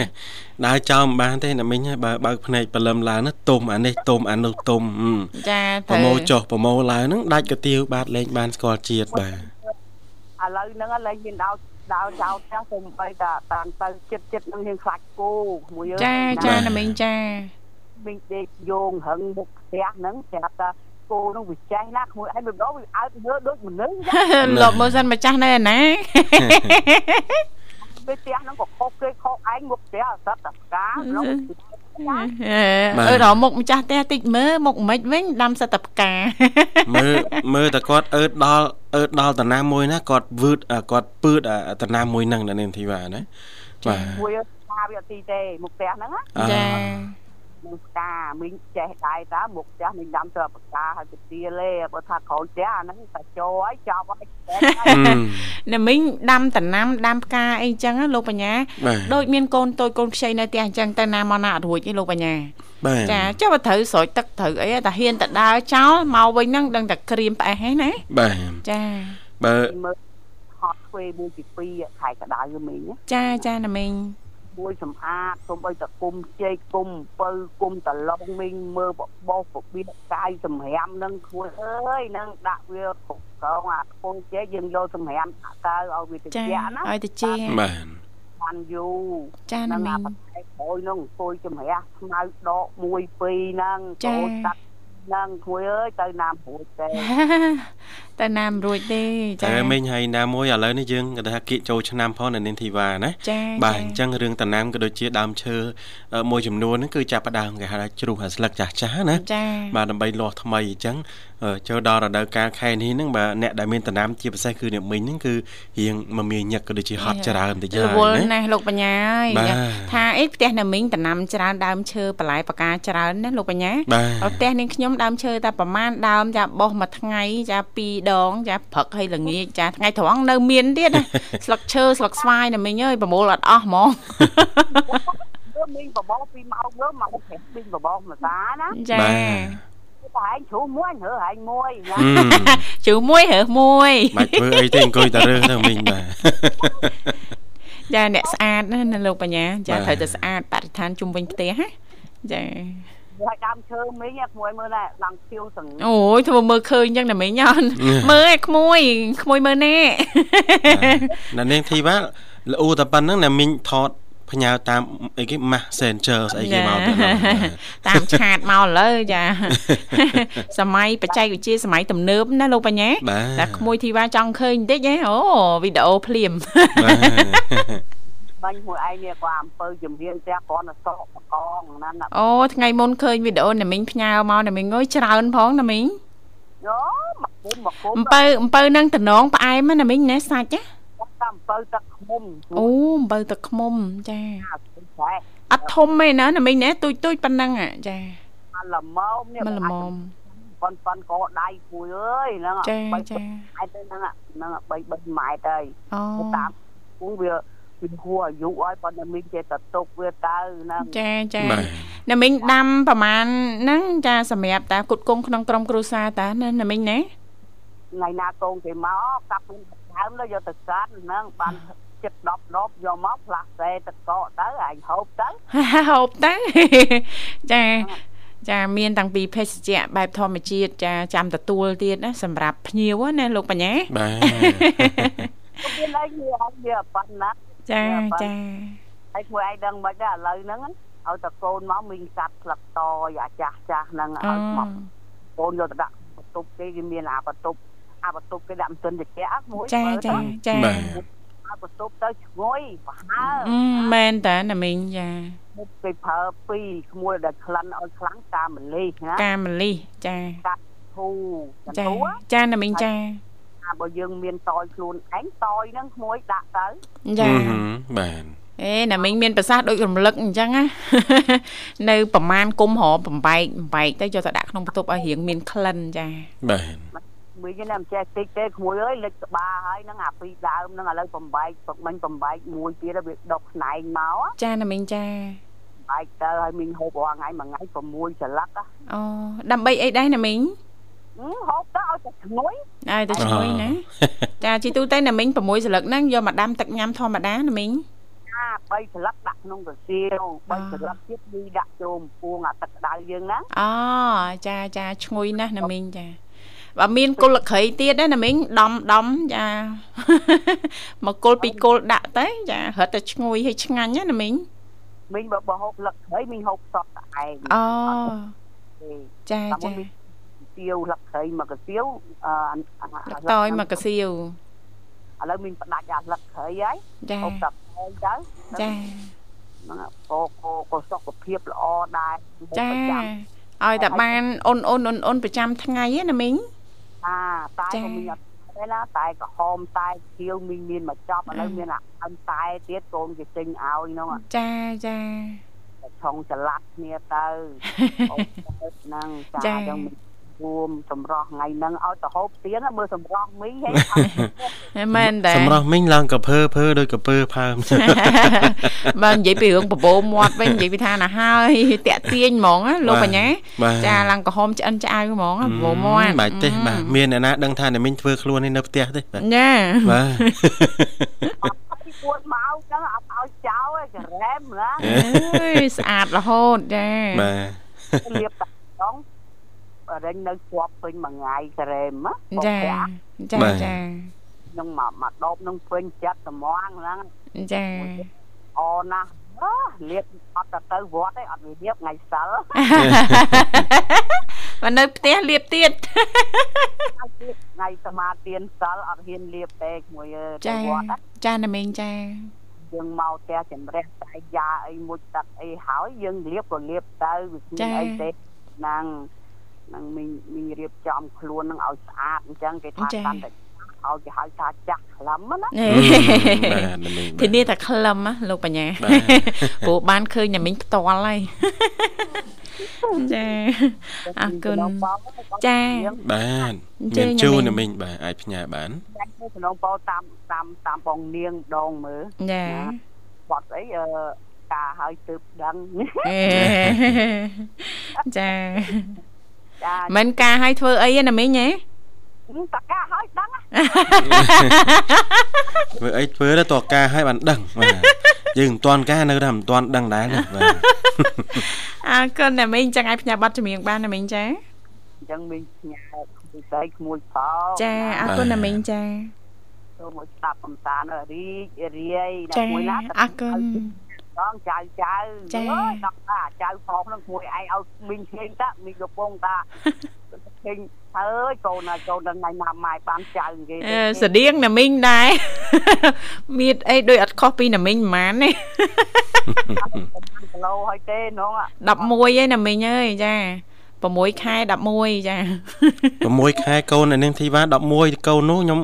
[SPEAKER 2] ដើរចោលមិនបានទេអ្នកមិញបើបើកភ្នែកព្រលឹមឡើងណាទុំអានេះទុំអានោះទុំហឹម
[SPEAKER 1] ចា
[SPEAKER 2] ប្រ
[SPEAKER 1] ត្រូវ
[SPEAKER 2] មោចុះប្រមោឡើងហ្នឹងដាច់កាទៀវបាទលេងបានស្គាល់ ជាតិបាទ
[SPEAKER 4] ឥឡូវហ្នឹងឡើងមានដោដោចោលទាំងទៅបីតាតាមទៅចិត្តចិត្តហ្នឹងយើងខ្លាច់គូមួយយើង
[SPEAKER 1] ចាចាណាមីងចា
[SPEAKER 4] មីងដេកយោងហឹងមុខផ្ទះហ្នឹងប្រាប់ថាគូហ្នឹងវាចេះណាក្មួយឯងមិនដឹងវាអើតមើលដូចមនុស្សចឹង
[SPEAKER 1] លប់មើលសិនម្ចាស់នៅឯណា
[SPEAKER 4] ពេលផ្ទះហ្នឹងក៏ខុសគេខុសឯងមុខផ្ទះអសតកាក្នុងណា
[SPEAKER 1] អឺអឺដល់មុខម្ចាស់ផ្ទះតិចមើលមុខមិនវិញដាំសិតតែផ្កា
[SPEAKER 2] មើលមើលតែគាត់អឺតដល់អឺតដល់តាណាមួយណាគាត់វឺតអ่าគាត់ពឺតអាតាណាមួយហ្នឹងណានាងធីវ៉ាណាបាទ
[SPEAKER 4] មួយថាវាអត់ទីទេមុខផ្ទះហ្នឹងណា
[SPEAKER 2] អ่า
[SPEAKER 1] ចា
[SPEAKER 4] មុខផ្កាមីងចេះដែរតើមុខផ្ទះមីងដាំស្រស់បកាហើយទៅទៀលទេបើថាក្រោយផ្ទះអាហ្នឹងតែចូលហើយចប់ហើយ
[SPEAKER 2] ហឹម
[SPEAKER 1] ណាមីងដាំតំណាំដាំផ្កាអីចឹងណាលោកបញ្ញា
[SPEAKER 2] បាទ
[SPEAKER 1] ដូចមានកូនតូចកូនខ្ចីនៅផ្ទះអញ្ចឹងទៅណាមកណាអត់រួចទេលោកបញ្ញា
[SPEAKER 2] បាទ
[SPEAKER 1] ចាចុះបើត្រូវស្រោចទឹកត្រូវអីតែហ៊ានតែដើរចោលមកវិញហ្នឹងដឹងតែក្រៀមផ្អេសហ្នឹងណា
[SPEAKER 2] បាទ
[SPEAKER 1] ចា
[SPEAKER 2] បើ
[SPEAKER 4] មើលហត់ធ្វើមួយទី2ខែក្តៅមីង
[SPEAKER 1] ចាចាណាមីង
[SPEAKER 4] មួយសម្អាតសូមឲ្យតគុំជែកគុំអំពៅគុំតឡងមីងមើលបបោសរបៀបកាយសម្រាមហ្នឹងគួរអើយហ្នឹងដាក់វាគ្រប់កងអាគុំជែកយើងយកសម្រាមដាក់ទៅឲ្យវាត្រ
[SPEAKER 1] ចា
[SPEAKER 4] ជាក់ណា
[SPEAKER 1] ឲ្យទៅជា
[SPEAKER 2] បាទ
[SPEAKER 4] បានយូរ
[SPEAKER 1] ចាណាមីង
[SPEAKER 4] អាប្រែក្រោយហ្នឹងអង្គុយជំរះស្មៅដក1 2ហ្នឹង
[SPEAKER 1] ចា
[SPEAKER 4] ចូលតាត់ហ្នឹងគួយអើយទៅណាមព្រួយទេ
[SPEAKER 1] តែណាមរួចទេចា
[SPEAKER 2] តែមិញហើយណាមួយឥឡូវនេះយើងគេថាគៀកចូលឆ្នាំផងណានាងធីវ៉ាណា
[SPEAKER 1] ចា
[SPEAKER 2] បាទអញ្ចឹងរឿងតំណាំក៏ដូចជាដើមឈើអឺមួយចំនួនហ្នឹងគឺចាប់ផ្ដើមគេហៅថាជ្រុះអាស្លឹកចាស់ចាស់ណា
[SPEAKER 1] ចា
[SPEAKER 2] បាទដើម្បីលាស់ថ្មីអញ្ចឹង អឺចូលដល់រដូវកាលខែនេះហ្នឹងបាទអ្នកដែលមានតំណាមជាពិសេសគឺអ្នកមីងហ្នឹងគឺរៀងមមាញឹកក៏ដូចជាហត់ច្រើនតិចហើ
[SPEAKER 1] រ
[SPEAKER 2] យ
[SPEAKER 1] វល់
[SPEAKER 2] ណា
[SPEAKER 1] ណាស់លោកបញ្ញាហើយ
[SPEAKER 2] បាទ
[SPEAKER 1] ថាអីផ្ទះណាមីងតំណាំច្រើនដើមឈើបន្លែបកាច្រើនណាស់លោកបញ្ញា
[SPEAKER 2] បាទ
[SPEAKER 1] ផ្ទះនាងខ្ញុំដើមឈើតែប្រមាណដើមចាបោះមួយថ្ងៃចា2ដងចាព្រឹកហើយល្ងាចចាថ្ងៃត្រង់នៅមានទៀត ណា ស្លឹកឈើស្លឹកស្វាយណាមីងអើយប្រមូលអត់អស់ហ្មង
[SPEAKER 4] មើលមីងបបោពីម៉ោងមើលម៉ោងប្រាំមីងបបោមកសាណា
[SPEAKER 1] ចា
[SPEAKER 2] បាទ
[SPEAKER 4] គឺតែឯងជ្រូកមួយរើឯងមួយណា
[SPEAKER 2] ហឹម
[SPEAKER 1] ជូរមួយរើសមួយ
[SPEAKER 2] បាច់ធ្វើអីទេអង្គុយតែរើសទៅមីង បាទ
[SPEAKER 1] ចាអ្នកស្អាតណាណាលោកបញ្ញាចា
[SPEAKER 2] បាទ
[SPEAKER 1] ត្រូវតែស្អាតបរិស្ថានជុំវិញផ្ទះណាចា
[SPEAKER 4] ហើយដើមឈើមីងឯងក្មួយមើលដែរឡើងឈៀវទាំង
[SPEAKER 1] អូយធ្វើមើលឃើញអញ្ចឹងណា មីងអ ត់មើលឯក្មួយក្មួយមើលណែ
[SPEAKER 2] ណានាងធីវ៉ាល្អតែប៉ុណ្្នឹងណាមីងថតផ្ញើតាមអីគេ Messenger ស្អីគេមក ទៅហ្នឹងបាទ
[SPEAKER 1] តាមឆាតមកឥឡូវចា សម័យបច្ចេកវិទ្យាសម័យទំនើបណាលោកបញ្ញា
[SPEAKER 2] បាទ
[SPEAKER 1] តែក្មួយធីវ៉ាចង់ឃើញបន្តិចហ៎អូវីដេអូភ្លាម
[SPEAKER 2] បាទ
[SPEAKER 4] បាញ់មួយឯងនេះក៏អំពើជំនាញផ្ទះគាត់ទៅសក់បកងណាណា
[SPEAKER 1] អូថ្ងៃមុនឃើញវីដេអូណាមីងផ្ញើមកណាមីងអើយច្រើនផងណាមីង
[SPEAKER 4] យោមកគុំមកគុំ
[SPEAKER 1] អំពៅអំពៅនឹងតំណងផ្អែមណាមីងណែសាច់ណា
[SPEAKER 4] តាមអំពើទឹកខ្មុំ
[SPEAKER 1] អូអំពៅទឹកខ្មុំចា
[SPEAKER 4] អាស្អី
[SPEAKER 1] អត់ធំទេណាណាមីងណែទូចទូចប៉ុណ្ណឹងហ៎ចា
[SPEAKER 4] អាល្មមនេះ
[SPEAKER 1] មិនល្មម
[SPEAKER 4] ប៉ុនប៉ុនកោដៃគួយអើយហ្នឹង
[SPEAKER 1] ចាចា
[SPEAKER 4] ឯទៅហ្នឹងហ្នឹង3 3ម៉ែត្រហើយ
[SPEAKER 1] អូ
[SPEAKER 4] តាមគូវាវាហួរអាយុឲ្យប៉ុន្តែមីងចេះតែຕົកវាទៅហ្នឹង
[SPEAKER 1] ចាចា
[SPEAKER 2] បាទ
[SPEAKER 1] ណាមីងដាំប្រហែលហ្នឹងចាសម្រាប់តាគុតគង់ក្នុងក្រុមគ្រួសារតាណាណាមីងណា
[SPEAKER 4] ថ្ងៃណាកូនគេមកកាប់ពូនដើមទៅយកទៅកាត់ ហ្នឹងបានចិត្ត10ដប់យកមកផ្លាស់សេទឹកកកទៅឯងហូបទៅ
[SPEAKER 1] ហូបតា ចាចាមានតាំងពីភេសជ្ជៈបែបធម្មជាតិចាចាំទទួលទៀតណាសម្រាប់ភ្ញៀវណាលោកបញ្ញា
[SPEAKER 2] បាទ
[SPEAKER 4] មានអីវាអត់វាប៉ុណ្ណា
[SPEAKER 1] ចាចា
[SPEAKER 4] ហើយមួយឯងដឹងមិនដែរឥឡូវហ្នឹងឲ្យតែកូនមកមីងកាត់ផ្លឹកតអាចាស់ចាស់ហ្នឹង
[SPEAKER 1] អូ
[SPEAKER 4] ឲ្យមកកូនយកទៅដាក់បន្ទប់គេគេមានអាបន្ទប់អាបន្ទប់គេដាក់មិនទាន់ត្រជាក់មួយ
[SPEAKER 1] ចា
[SPEAKER 4] មើលទៅ
[SPEAKER 1] ចាចា
[SPEAKER 2] បាទ
[SPEAKER 4] អាបន្ទប់ទៅឈ្ងុយប្រហើ
[SPEAKER 1] អឺមែនតាណាមីងចា
[SPEAKER 4] មុខគេប្រើពីរក្មួយដែលក្លិនឲ្យខ្លាំងតាមម្លេះណា
[SPEAKER 1] កាមលីចា
[SPEAKER 4] ធូច
[SPEAKER 1] ចា
[SPEAKER 4] ន្ទូ
[SPEAKER 1] ចាណាមីងចា
[SPEAKER 4] ថាបើយើងមានតយខ្លួនឯងតយហ្នឹងក្មួយដាក់ទៅ
[SPEAKER 1] ចា
[SPEAKER 2] ហឹមបាទ
[SPEAKER 1] អេណាមីងមានប្រសាសន៍ដូចរំលឹកអញ្ចឹងណា នៅប្រមាណគុំរមបំបែកបំបែកទៅយកទៅដាក់ក្នុងបន្ទប់ឲ្យរៀងមានក្លិនចា
[SPEAKER 2] បាទ
[SPEAKER 4] មីងណាមិនចេះតិចទេក្មួយអើយលិចក្បាលហើយហ្នឹងអាពីរដើមហ្នឹងឥឡូវបំបែកពុកមិញបំបែកមួយទៀតហើយវាដុកស្នែងមក
[SPEAKER 1] ចាណាមីងចា
[SPEAKER 4] បំបែកទៅហើយមីងហូបរាល់ថ្ងៃមួយថ្ងៃ6ចលឹកហ
[SPEAKER 1] អូដើម្បីអីដែរណាមីង
[SPEAKER 4] ឹមហូបទៅឲ្យតែឈ្ងុយ
[SPEAKER 1] ឲ្យទៅជួយណា ចាជីទូទៅណាមីង6ស្លឹកហ្នឹងយកមកដាំទឹកញ៉ាំធម្មតាណាមីង
[SPEAKER 4] ណា3ចលឹកដាក់ក្នុងរសៀល3ចលឹកទៀតមីងដាក់ចូលម្ពូងអាទឹកក្តៅយើងហ្នឹង
[SPEAKER 1] អូចាចាឈ្ងុយណាស់ណាមីងចាបើមានគុលក្រៃទៀតណាណាមីងដំដំចា មកគុលពីរគុលដាក់ទៅចារត់តែឈ្ងុយហើយឆ្ងាញ់ណាណាមីង
[SPEAKER 4] មីងបើបើហូបលឹកហើយមីងហូបសក់តែឯង
[SPEAKER 1] អូ
[SPEAKER 4] ទេ
[SPEAKER 1] ចា
[SPEAKER 4] តាម
[SPEAKER 1] ចា
[SPEAKER 4] មុខនេះកាសៀវលឹកត្រីមកកាសៀវអឺអា
[SPEAKER 1] លឹ
[SPEAKER 4] អា
[SPEAKER 1] កតយមកកសៀវ
[SPEAKER 4] ឥឡូវមានផ្ដាច់អាលឹកត្រីហើយ
[SPEAKER 1] ចា
[SPEAKER 4] ហូបតាប់ហើយទៅ
[SPEAKER 1] ចា
[SPEAKER 4] ហ្នឹងកោកោកោសុខភាពល្អដែរ
[SPEAKER 1] ចា
[SPEAKER 4] ប្រំ
[SPEAKER 1] ឲ្យតែបានអ៊ុនអ៊ុនអ៊ុនអ៊ុនប្រចាំថ្ងៃហ្នឹងណាមីង
[SPEAKER 4] អាតែ
[SPEAKER 1] ចា
[SPEAKER 4] ក៏មានអត់ដែរណាតែក្រហមតែខៀវមានមានមកចប់ឥឡូវមានអាអឹមតែទៀតកូនគេចេញឲ្យហ្នឹងអា
[SPEAKER 1] ចាចា
[SPEAKER 4] តែឆុងច្រឡាត់គ្នា ទៅអូហ្នឹងចាយើងមានរួមសម្រស់ថ្ងៃហ្នឹងឲ្យទៅហូបទៀនណាមើលសម្រស់មីងហីអត់
[SPEAKER 1] ហ្នឹងមែនតែ
[SPEAKER 2] ស
[SPEAKER 1] រ
[SPEAKER 2] ម្រាប់មីងឡើងកាភើភើដូចកាភើផើម
[SPEAKER 1] បើនិយាយពីរឿងបបោមាត់វិញនិយាយពីថាណាហើយតាក់ទាញហ្មងណាលោកប
[SPEAKER 2] បាទ
[SPEAKER 1] ញ្ញា
[SPEAKER 2] បាទ
[SPEAKER 1] ចាឡើងក្រហមឆ្អិនឆ្អៅហ្មងណាបបោមាត់
[SPEAKER 2] បាច់ទេបាទមានអ្នកណាដឹងថាអ្នកមីងធ្វើខ្លួននេះនៅផ្ទះទេបាទ
[SPEAKER 1] ញ៉ា
[SPEAKER 2] បាទ
[SPEAKER 4] ពីពួនមកចឹងអត់ឲ្យចោលឯងក្រែមណា
[SPEAKER 1] អើយស្អាតរហូតចា
[SPEAKER 2] បាទ
[SPEAKER 4] លៀបតាដងបរិញនៅជាប់ពេញមួយថ្ងៃក្រែមណា
[SPEAKER 1] ចាចា
[SPEAKER 2] បាទ
[SPEAKER 1] ចា
[SPEAKER 4] នឹងមកមកដប់នឹងពេញចិត្តត្មងហ្នឹង
[SPEAKER 1] ចា
[SPEAKER 4] អណាស់អោះលៀបអត់ទៅទៅវត្តទេអត់វាលៀបថ្ងៃសិល
[SPEAKER 1] បើនៅផ្ទះលៀបទៀត
[SPEAKER 4] ហើយលៀបថ្ងៃសមាទានសិលអត់ហ៊ានលៀបទេមួយអើយទៅ
[SPEAKER 1] ចា
[SPEAKER 4] វត្តណា
[SPEAKER 1] ចាណាមីងចា
[SPEAKER 4] យើងមកផ្ទះចម្រេះតែយ៉ាអីមួយទឹកអីហើយយើងលៀបក៏លៀបទៅវាគ្មានអីទេហ្នឹង នឹងមីងមីងរៀបចំខ្លួននឹងឲ្យស្អាតអញ្ចឹងគេថា
[SPEAKER 1] ចា៎
[SPEAKER 4] តាមតែឲ្យគេហៅថាចាស់ខ្លឹមណា
[SPEAKER 1] ហេ
[SPEAKER 2] បាទណាមីង
[SPEAKER 1] ធានាតែក្លឹមណាលោកបញ្ញា
[SPEAKER 2] បាទ
[SPEAKER 1] ព្រោះបានឃើញតែមីងផ្ទាល់ហើយចាអរគុណ ចា៎
[SPEAKER 2] បាទ
[SPEAKER 1] អញ្ជើ
[SPEAKER 2] មា
[SPEAKER 1] ញណា
[SPEAKER 2] នជូ
[SPEAKER 1] មីង
[SPEAKER 2] នណាមីងបាទអាចផ្ញើបាន
[SPEAKER 4] ចាញ់ទៅក្នុងពោតាមតាមតាមបងនាងម្ដងមើល
[SPEAKER 1] ចា
[SPEAKER 4] បាត់អីអឺការឲ្យទើបដឹង
[SPEAKER 1] អេចា
[SPEAKER 4] ចា
[SPEAKER 1] មិនការឲ្យធ្វើអីទេណាមីងហ៎
[SPEAKER 4] តកាឲ្យដឹងណា
[SPEAKER 2] ធ្វើអីធ្វើទៅតកាឲ្យបានដឹងបាទយើងមិនទាន់ការនៅតែមិនទាន់ដឹងដែរណាបាទ
[SPEAKER 1] អរគុណណាមីងចឹងឲ្យផ្ញើប័ណ្ណចម្រៀងបានណាមីងចា
[SPEAKER 4] អញ្ចឹងមីងញ៉ាំពីស្អីក្មួយផង
[SPEAKER 1] ចាអរគុណណាមីងចា
[SPEAKER 4] ចូលមកស្ដាប់កំសាន្តឲ្យរីករាយណា
[SPEAKER 1] ចា
[SPEAKER 4] មួយណា
[SPEAKER 1] អរគុណ
[SPEAKER 4] ដងចៅចៅ
[SPEAKER 1] ចា
[SPEAKER 4] អើយដល់ថាចៅផងហ្នឹងក្មួយឯងឲ្យមីងឃើញតាមីងកំពុងតា ឃើញអើយកូនណាកូនដល់ថ្ងៃណាម៉ែបានចៅគេ
[SPEAKER 1] អឺស្តៀងណាមីងដែរ មានអីដូចអត់ខុសពីណាមីងប៉ុន្មានទេ
[SPEAKER 4] គីឡូហើយទេហ្នង
[SPEAKER 1] 11ឯណាមីងអើយចា6ខែ11ចា
[SPEAKER 2] 6ខែកូននៅនាងធីវ៉ា11កូននោះខ្ញុំ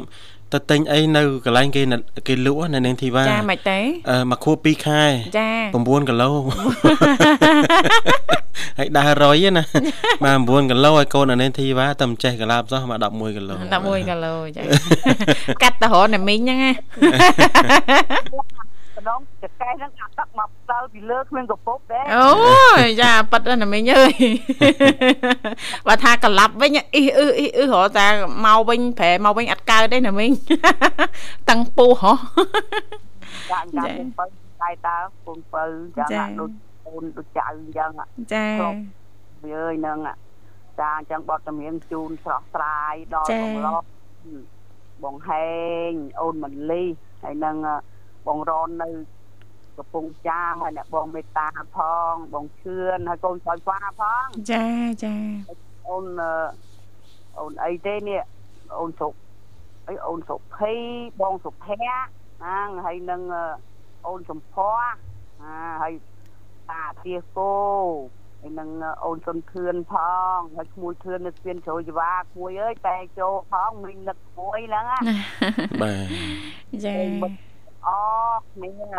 [SPEAKER 2] ទៅទិញអីនៅកន្លែងគេណាគេលក់ណានាងធីវ៉ា
[SPEAKER 1] ចាមិនទេ
[SPEAKER 2] អឺមួយខួប2ខែ
[SPEAKER 1] ចា
[SPEAKER 2] 9គីឡូ ហើយដើររយហ្នឹងណាបាទ9គីឡូឲ្យកូនអានេះធីវ៉ាតែមិនចេះកាឡាបសោះមក11គីឡូ
[SPEAKER 1] 11គីឡូចា កាត់តរណាមីងហ្នឹងណា
[SPEAKER 4] ដងចកេះហ្នឹងអាទឹកមកផ្ដៅពីលើគ្មានកពុបដែរ
[SPEAKER 1] អូយចាប៉ិតណាស់ណាមីងអើយ បើថាក្លាប់វិញអ៊ីអ៊ឺអ៊ីអ៊ឺរហូតតែមកវិញប្រែមកវិញអត់កើតទេណាមីង តឹងពោះហ៎
[SPEAKER 4] ចាញ់
[SPEAKER 1] ចា
[SPEAKER 4] ចាំបើតែតើពងបើចាំ
[SPEAKER 1] ចា
[SPEAKER 4] ដូចកូនដូចចៅអញ្ចឹងអា
[SPEAKER 1] ចា
[SPEAKER 4] វាអើយហ្នឹងអាចាអញ្ចឹងបទចម្រៀងជូនស្រស់ស្រាយដល់
[SPEAKER 1] ចា
[SPEAKER 4] បងរត់បងហេងអូនមលីហើយនឹងអ่ะបងរននៅកំពង់ចាមហើយអ្នកបងមេត្តាផង បងឈឿនហើយកូនសោយវ៉ាផង
[SPEAKER 1] ចាចា
[SPEAKER 4] អូនអឺអូនអីទេនេះអូនសុកអីអូនសុភីបងសុភ័ក្រហ្នឹងហើយនឹងអ่ะអូនសំភ័រអាហើយតាអាទាគោ ហើយនឹងអូនសុនធឿនផងហើយឈ្មោះធឿននៅស្ពានជ្រោយចវាគួយអើយតែចូលផងមិញនឹកគួយហ្នឹងណា
[SPEAKER 2] បាទ
[SPEAKER 1] ចា
[SPEAKER 4] អគ្នា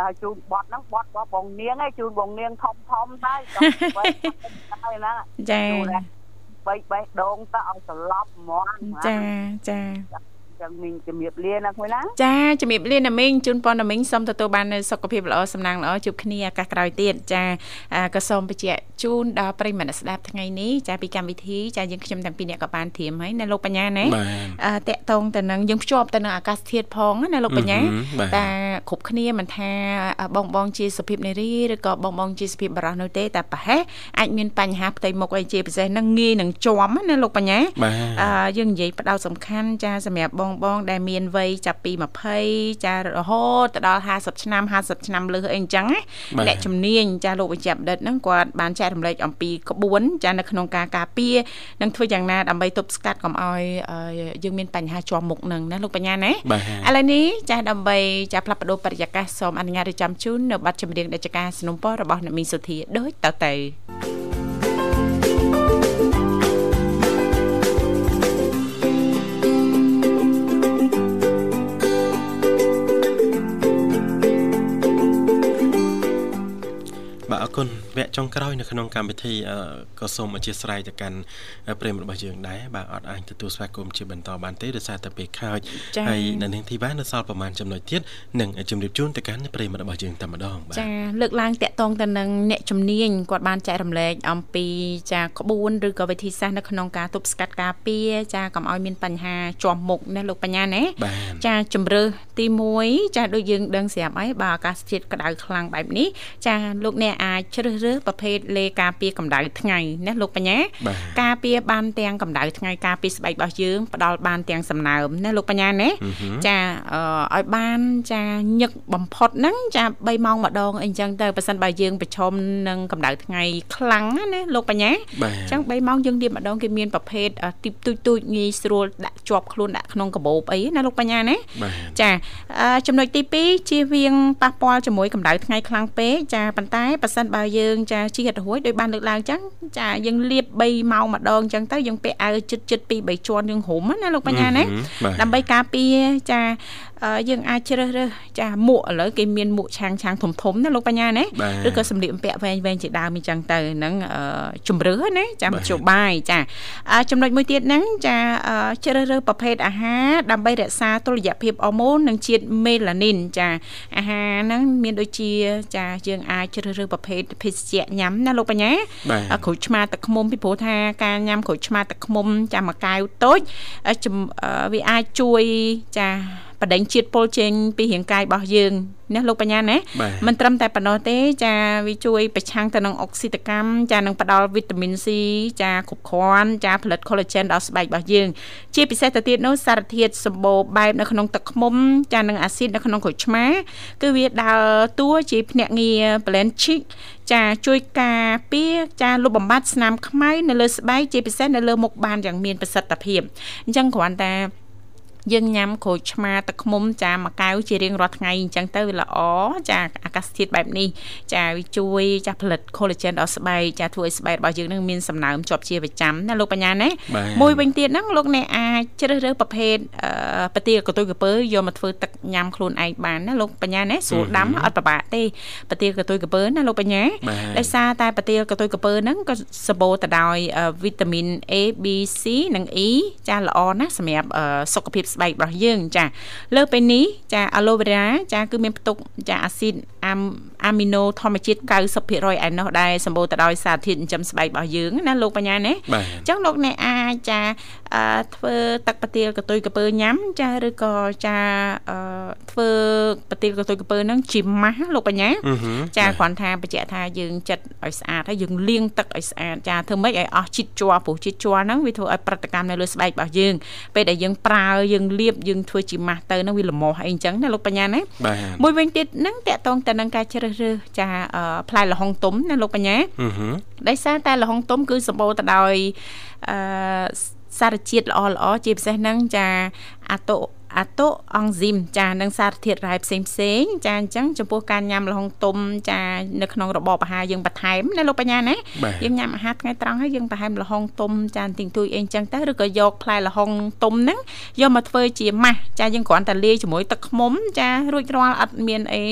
[SPEAKER 4] ហើយជូនបត់ហ្នឹងបត់របស់បងនាងឯងជូនបងនាងធំធំទៅចង់បីទៅហ្នឹង
[SPEAKER 1] ចា
[SPEAKER 4] ជូនបីបេះដូងទៅឲ្យត្រឡប់ហ្មងណា
[SPEAKER 1] ចាចា
[SPEAKER 4] ចឹងមិញជំរាបលាណាគួយណា
[SPEAKER 1] ចាជំរាបលាណាមីងជូនប៉ុនណាមីងសូមទទួលបាននូវសុខភាពល្អសំណាងល្អជួបគ្នាឱកាសក្រោយទៀតចាអ่าក៏សូមបញ្ជាក់ជូនដល់ប្រិយមិត្តអ្នកស្ដាប់ថ្ងៃនេះចាពីកម្មវិធីចាយើងខ្ញុំទាំងពីរអ្នកក៏បានធៀម ហើយណាលោកបញ្ញាណា
[SPEAKER 2] បាទ
[SPEAKER 1] អ่าតកតងទៅនឹងយើងភ្ជាប់ទៅនឹងអាកាសធាតុផងណាលោកបញ្ញា តាគ្រប់គ្នាមិនថាបងបងជាសុភាពនារីឬក៏បងបងជាសុភាពបរោះនោះទេតែប្រហែលអាចមានបញ្ហាផ្ទៃមុខអីជាពិសេសហ្នឹងងាយនឹងជាប់ណាលោកបញ្ញា
[SPEAKER 2] បាទ
[SPEAKER 1] អឺយើងនិយាយផ្ដោតសំខាន់ចាសម្រាប់បងបង ដែលមានវ័យចាប់ពី20ចារហូតទៅដល់50ឆ្នាំ50ឆ្នាំលើសអីអញ្ចឹងណា
[SPEAKER 2] បាទ
[SPEAKER 1] អ្នកជំនាញចាស់លោកបញ្ជាបណ្ឌិតហ្នឹងគាត់បានចែករំលែកអំពីក្បួនចាស់នៅក្នុងការការពារនិងធ្វើយ៉ាងណាដើម្បីទប់ស្កាត់កុំឲ្យអឺយើងមានបញ្ហាជាប់មុខហ្នឹងណាលោកបញ្ញាណា
[SPEAKER 2] បាទ
[SPEAKER 1] ឥឡូវនេះចាស់ដើម្បីចាស់ផ្លាស់ប្ដូរបរិយាកាសសូមអនុញ្ញាតរៀបចំជូននៅប័ណ្ណចម្រៀងដែលចាការสนុំពររបស់អ្នកមីងសុធាដូចតទៅ
[SPEAKER 2] បាទអរគុណវគ្គចុងក្រោយនៅក្នុងកម្មវិធីអឺក៏សូមអធិស្ឋានទៅកាន់អឺប្រិមត្តរបស់យើងដែរបាទអត់អាចទទួលស្វាគមន៍ជាបន្តបានទេដោយសារតែពេលខើចហើយនៅនាងធីវ៉ានៅសល់ប្រហែលចំណុចទៀតនឹងជម្រាបជូនទៅកាន់ប្រិមត្តរបស់យើងតែម្ដងបាទ
[SPEAKER 1] ចាលើកឡើងតាក់ទងទៅនឹងអ្នកជំនាញគាត់បានចែករំលែកអំពីចាក្បួនឬក៏វិធីសាស្ត្រនៅក្នុងការទប់ស្កាត់ការពារចាកុំឲ្យមានបញ្ហាជាប់មុខណាលោកបញ្ញាណា
[SPEAKER 2] បាទ
[SPEAKER 1] ចាជំរើសទី1ចាដូចយើងដឹងស្រាប់ហើយបើអាកាសធាតុក្តៅខ្លាំងបែបនេះចាលោកអ្នកអាចជ្រើសរើសប្រភេទលេការពារកម្ដៅថ្ងៃណាលោកបញ្ញា
[SPEAKER 2] បាទ
[SPEAKER 1] ការពារបានទាំងកម្ដៅថ្ងៃការពារស្បែករបស់យើងផ្ដល់បានទាំងសំណើមណាលោកបញ្ញាណា
[SPEAKER 2] អឺហឹម
[SPEAKER 1] ចាអឺឲ្យបានចាញឹកបំផុតហ្នឹងចា3ម៉ោងម្ដងអីចឹងទៅប៉ះសិនបើយើងប្រឈមនឹងកម្ដៅថ្ងៃខ្លាំងណាណាលោកបញ្ញា
[SPEAKER 2] បាទ
[SPEAKER 1] អញ្ចឹង3ម៉ោងយើងលាបម្ដងគេមានប្រភេទអ่ะទីបទូចទូចងាយស្រួលដាក់ជាប់ខ្លួនដាក់ក្នុងកាបូបអីណាលោកបញ្ញាណា
[SPEAKER 2] បាទ
[SPEAKER 1] ចាអឺចំណុចទី2ជៀសវាងប៉ះពាល់ជាមួយកម្ដៅថ្ងៃខ្លាំងពេកចាប៉ុន្តែប៉ះសិនបើយើង ចា ចាជាតិរួចដោយបានលើកឡើងចឹងចាយើងលាប3ម៉ោងម្ដងចឹងទៅយើងពាក់អាវជិតជិត2 3ជាន់យើងរុំណាលោកបញ្ញាណាដើម្បីការពារចាអឺយើងអាចជ្រើសរើសចាមួកឥឡូវគេមានមួកឆាងឆាងធំធំណាលោកបញ្ញាណា
[SPEAKER 2] ឬ
[SPEAKER 1] ឬ
[SPEAKER 2] ក៏
[SPEAKER 1] ក៏សម្លៀកបំពាក់វែងវែងៗជាដើមអញ្ចឹងទៅហ្នឹងអឺជំរឿសណាចាម
[SPEAKER 2] បាទ
[SPEAKER 1] ធ្យោបាយចាអឺចំណុចមួយទៀតហ្នឹងចាអឺជ្រើសរើសប្រភេទអាហារដើម្បីរក្សាតុល្យភាពអរម៉ូននិងជាតិមេឡានីនចាអាហារហ្នឹងមានដូចជាចាយើងអាចជ្រើសរើសប្រភេទភេសជ្ជៈញ៉ាំណាលោកបញ្ញា
[SPEAKER 2] បាទ
[SPEAKER 1] ក្រូចឆ្មាទឹកឃ្មុំពីព្រោះថាការញ៉ាំក្រូចឆ្មាទឹកឃ្មុំចាំមួយកែវតូចអឺជំអឺវាអាចជួយចាបដិញជាតិពុលចេញពីរាងកាយរបស់យើងណាលោកបញ្ញាណា
[SPEAKER 2] បាទ
[SPEAKER 1] មិនត្រឹមតែប៉ុណ្ណោះទេចាវាជួយប្រឆាំងទៅនឹងអុកស៊ីតកម្មចានឹងផ្ដល់វីតាមីន C ចាគ្រប់គ្រាន់ចាផលិត collagen ដល់ស្បែករបស់យើង ជាពិសេសទៅទៀតនោះសារធាតុសម្បូរបែបនៅក្នុងទឹកឃ្មុំចានឹងអាស៊ីតនៅក្នុងក្រូចឆ្មា គឺវាដើរតួជាភ្នាក់ងារ blanchic ចាជួយការពារចាលុបបំបាត់ស្នាមខ្មៅនៅលើស្បែកជាពិសេសនៅលើមុខបានយ៉ាងមានប្រសិទ្ធភាពអញ្ចឹងគ្រាន់តែយើងញ៉ាំក្រូចឆ្មាទឹកឃ្មុំចាមួយកែវជារៀងរាល់ថ្ងៃអញ្ចឹងទៅវាល្អចាអាកាសធាតុបែបនេះចាវាជួយចាផលិត collagen ដល់ស្បែកចាធ្វើឲ្យស្បែករបស់យើងនឹងមានសំណើមជាប់ជាប្រចាំណាលោកបញ្ញាណា
[SPEAKER 2] បាទ
[SPEAKER 1] មួយវិញទៀតហ្នឹងលោកអ្នកអាចជ្រើសរើសប្រភេទអឺប្រទាលកន្ទុយក្រពើយកមកធ្វើទឹកញ៉ាំខ្លួនឯងបានណាលោកបញ្ញាណាស្រួលដាំអត់ពិបាកទេប្រទាលកន្ទុយក្រពើណាលោកបញ្ញា
[SPEAKER 2] បាទ
[SPEAKER 1] ដោយសារតែប្រទាលកន្ទុយក្រពើហ្នឹងក៏សម្បូរទៅដោយអឺវីតាមីន A B C និង E ចាល្អណាស់សម្រាប់អឺសុខភាពស្បែករបស់យើងចាលើសពីនេះចា aloe vera ចាគឺមានផ្ទុកចាអាស៊ីតអាមអាមីណូធម្មជាតិ90%ឯណោះដែរសម្បូរទៅដោយសារធាតុចិញ្ចឹមស្បែករបស់យើងណាលោកបញ្ញាណា
[SPEAKER 2] បាទ
[SPEAKER 1] ចឹងលោកអ្នកអាចចាអឺធ្វើទឹកប្រទាលកន្ទុយក្រពើញ៉ាំចាឬក៏ចាអឺធ្វើប្រទាលកន្ទុយក្រពើហ្នឹងជាម៉ាស់លោកបញ្ញា
[SPEAKER 2] អឺហឺ
[SPEAKER 1] ចា
[SPEAKER 2] បាទ
[SPEAKER 1] គ្រាន់ថាបញ្ជាក់ថាយើងចិត្តឲ្យស្អាតហើយយើងលាងទឹកឲ្យស្អាតចាធ្វើម៉េចឲ្យអស់ជាតិជ័រព្រោះជាតិជ័រហ្នឹងវាធ្វើឲ្យប្រតិកម្មនៅលើស្បែករបស់យើង ពេលដែលយើងប្រើយើងលាបយើងធ្វើជាម៉ាស់ទៅហ្នឹងវាល្មមអីអញ្ចឹងណាលោកបញ្ញាណា
[SPEAKER 2] បាទ
[SPEAKER 1] មួយវិញទៀតហ្នឹងតកតងទៅនឹងការជ្រើសរើសចាអឺផ្លែល្ហុងទុំណាលោកបញ្ញា
[SPEAKER 2] អឺហឺ
[SPEAKER 1] ដោយសារតែល្ហុងទុំគឺសម្បូរទៅដោយអឺសារជាតិល្អល្អៗជាពិសេសហ្នឹងចាអាតូអាតូអង់ស៊ីមចានឹងសារធាតុរ៉ែផ្សេងផ្សេងៗចាអញ្ចឹងចំពោះការញ៉ាំល្ហុងទុំចានៅក្នុងរបបអាហារយើងបន្ថែមណាលោកបញ្ញាណា
[SPEAKER 2] បាទ
[SPEAKER 1] យើងញ៉ាំអាហារថ្ងៃត្រង់ហើយយើងបន្ថែមល្ហុងទុំចាទីងទួយអីអញ្ចឹងទៅឬក៏យកផ្លែល្ហុងទុំហ្នឹងយកមកធ្វើជាម៉ាស់ចាយើងគ្រាន់តែលាយជាមួយទឹកឃ្មុំចារួចរាល់អត់មានអី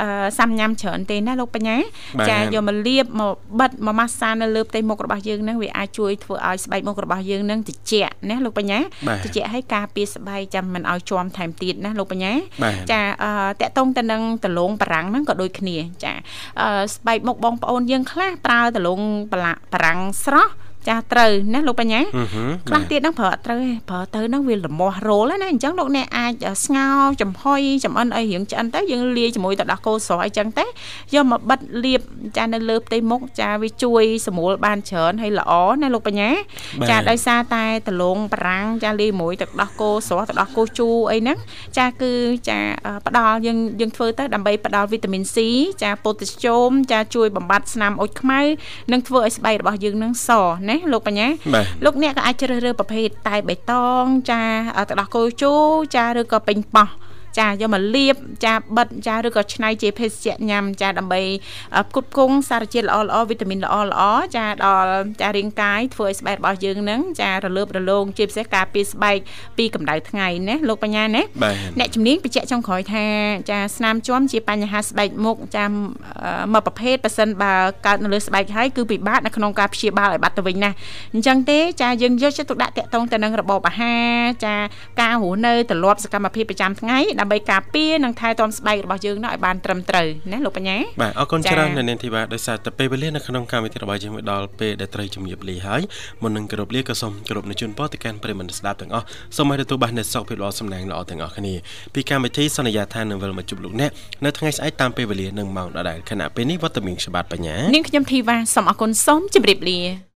[SPEAKER 1] អឺសាំញ៉ាំច្រើនទេណាលោកបញ្ញា
[SPEAKER 2] បាទ
[SPEAKER 1] ចាយកមកលាបមកបិទមកម៉ាស្សានៅលើផ្ទៃមុខរបស់យើងហ្នឹងវាអាចជួយធ្វើឲ្យស្បែកមុខរបស់យើងហ្នឹងត្រជាក់ណាលោកបញ្ញា
[SPEAKER 2] បាទ
[SPEAKER 1] ត្រជាក់ឲ្យការពារស្បែកចាំមិនឲ្យជាំថែមទៀតណាលោកបញ្ញា
[SPEAKER 2] បាទ
[SPEAKER 1] ចាអឺតកតងទៅនឹងដលងបារាំងហ្នឹងក៏ដូចគ្នាចាអឺស្បែកមុខបងប្អូនយើងខ្លះប្រើដលងបាឡាបារាំងស្រស់ចាត្រូវណាលោកបញ្ញា
[SPEAKER 2] អឺហឺ
[SPEAKER 1] ខ្លះទៀតហ្នឹងប្រើអត់ត្រូវទេប្រើទៅហ្នឹងវាលមាស់រោលហើយណាអញ្ចឹងលោកអ្នកអាចស្ងោរចំហុយចំអិនអីរៀងឆ្អិនទៅយើងលាយជាមួយទឹកដោះគោស្រស់អីចឹងទៅយកមកបិទលាបចានៅលើផ្ទៃមុខចាវាជួយសម្រួលបានច្រើនហើយល្អណាលោកបញ្ញា
[SPEAKER 2] បាទ
[SPEAKER 1] ចាដោយសារតែដលងបារាំងចាលាយជាមួយទឹកដោះគោស្រស់ទឹកដោះគោជូរអីហ្នឹងចាគឺចាអឺផ្ដល់យើងយើងធ្វើទៅដើម្បីផ្ដល់វីតាមីន C ចាប៉ូតាស្យូមចាជួយបំបត្តិស្នាមអុចខ្មៅនិងធ្វើឲ្យស្បែករបស់យើងហ្នឹងសណាលោកបញ្ញា
[SPEAKER 2] បាទ
[SPEAKER 1] លោកអ្នកក៏អាចជ្រើសរើសប្រភេទតែបៃតងចាទឹកដោះគោជូរចាឬក៏ពេញប៉ោះចាយកមកលាបចាបិទចាឬក៏ឆ្នៃជាភេសជ្ជៈញ៉ាំចាដើម្បីអ่าផ្គត់ផ្គង់សារជាតិល្អល្អវីតាមីនល្អល្អចាដល់ចារាងកាយធ្វើឲ្យស្បែករបស់យើងហ្នឹងចារលើបរលោងជាពិសេសការពារស្បែកពីកម្ដៅថ្ងៃណាលោកបញ្ញាណា
[SPEAKER 2] បាទ
[SPEAKER 1] អ្នកជំនាញបញ្ជាក់ចុងក្រោយថាចាស្នាមជាំជាបញ្ហាស្បែកមុខចាអឺមួយប្រភេទប៉ះសិនបើកើតនៅលើស្បែកហើយគឺពិបាកនៅក្នុងការព្យាបាលឲ្យបាត់ទៅវិញណាស់អញ្ចឹងទេចាយើងយកចិត្តទុកដាក់តាក់ទងទៅនឹងរបបអាហារចាការរស់នៅទម្លាប់សកម្មភាពប្រចាំថ្ងៃដើម្បីការពារនិងថែទាំស្បែករបស់យើងនោះឲ្យបានត្រឹមត្រូវណាលោកបញ្ញា
[SPEAKER 2] បាទអរគុណ
[SPEAKER 1] ចា៎
[SPEAKER 2] ច្រើននៅនាងធីបាដោយសារតែពេលវេលានៅក្នុងកម្មវិធីរបស់យើងមកដល់ពេលដែលត្រូវជំរាបលាហើយមុននឹងគោរពលាក៏សូមគោរពនឹងជូនពរទៅកាន់ប្រិយមិត្តស្ដាប់ទាំងអស់សូមឲ្យទទួលបាននូវសុខភាពល្អសំណាងល្អទាំងអស់គ្នាពីកម្មវិធីសន្យាថានឹងវិលមកជួបលោកអ្នកនៅថ្ងៃស្អែកតាមពេលវេលានឹងម៉ោងដដែលខណៈពេលនេះវត្តមានខ្ញុំបាទបញ្ញា
[SPEAKER 1] នាងខ្ញុំធីវ៉ាសូមអរគុណសូមជម្រាបលា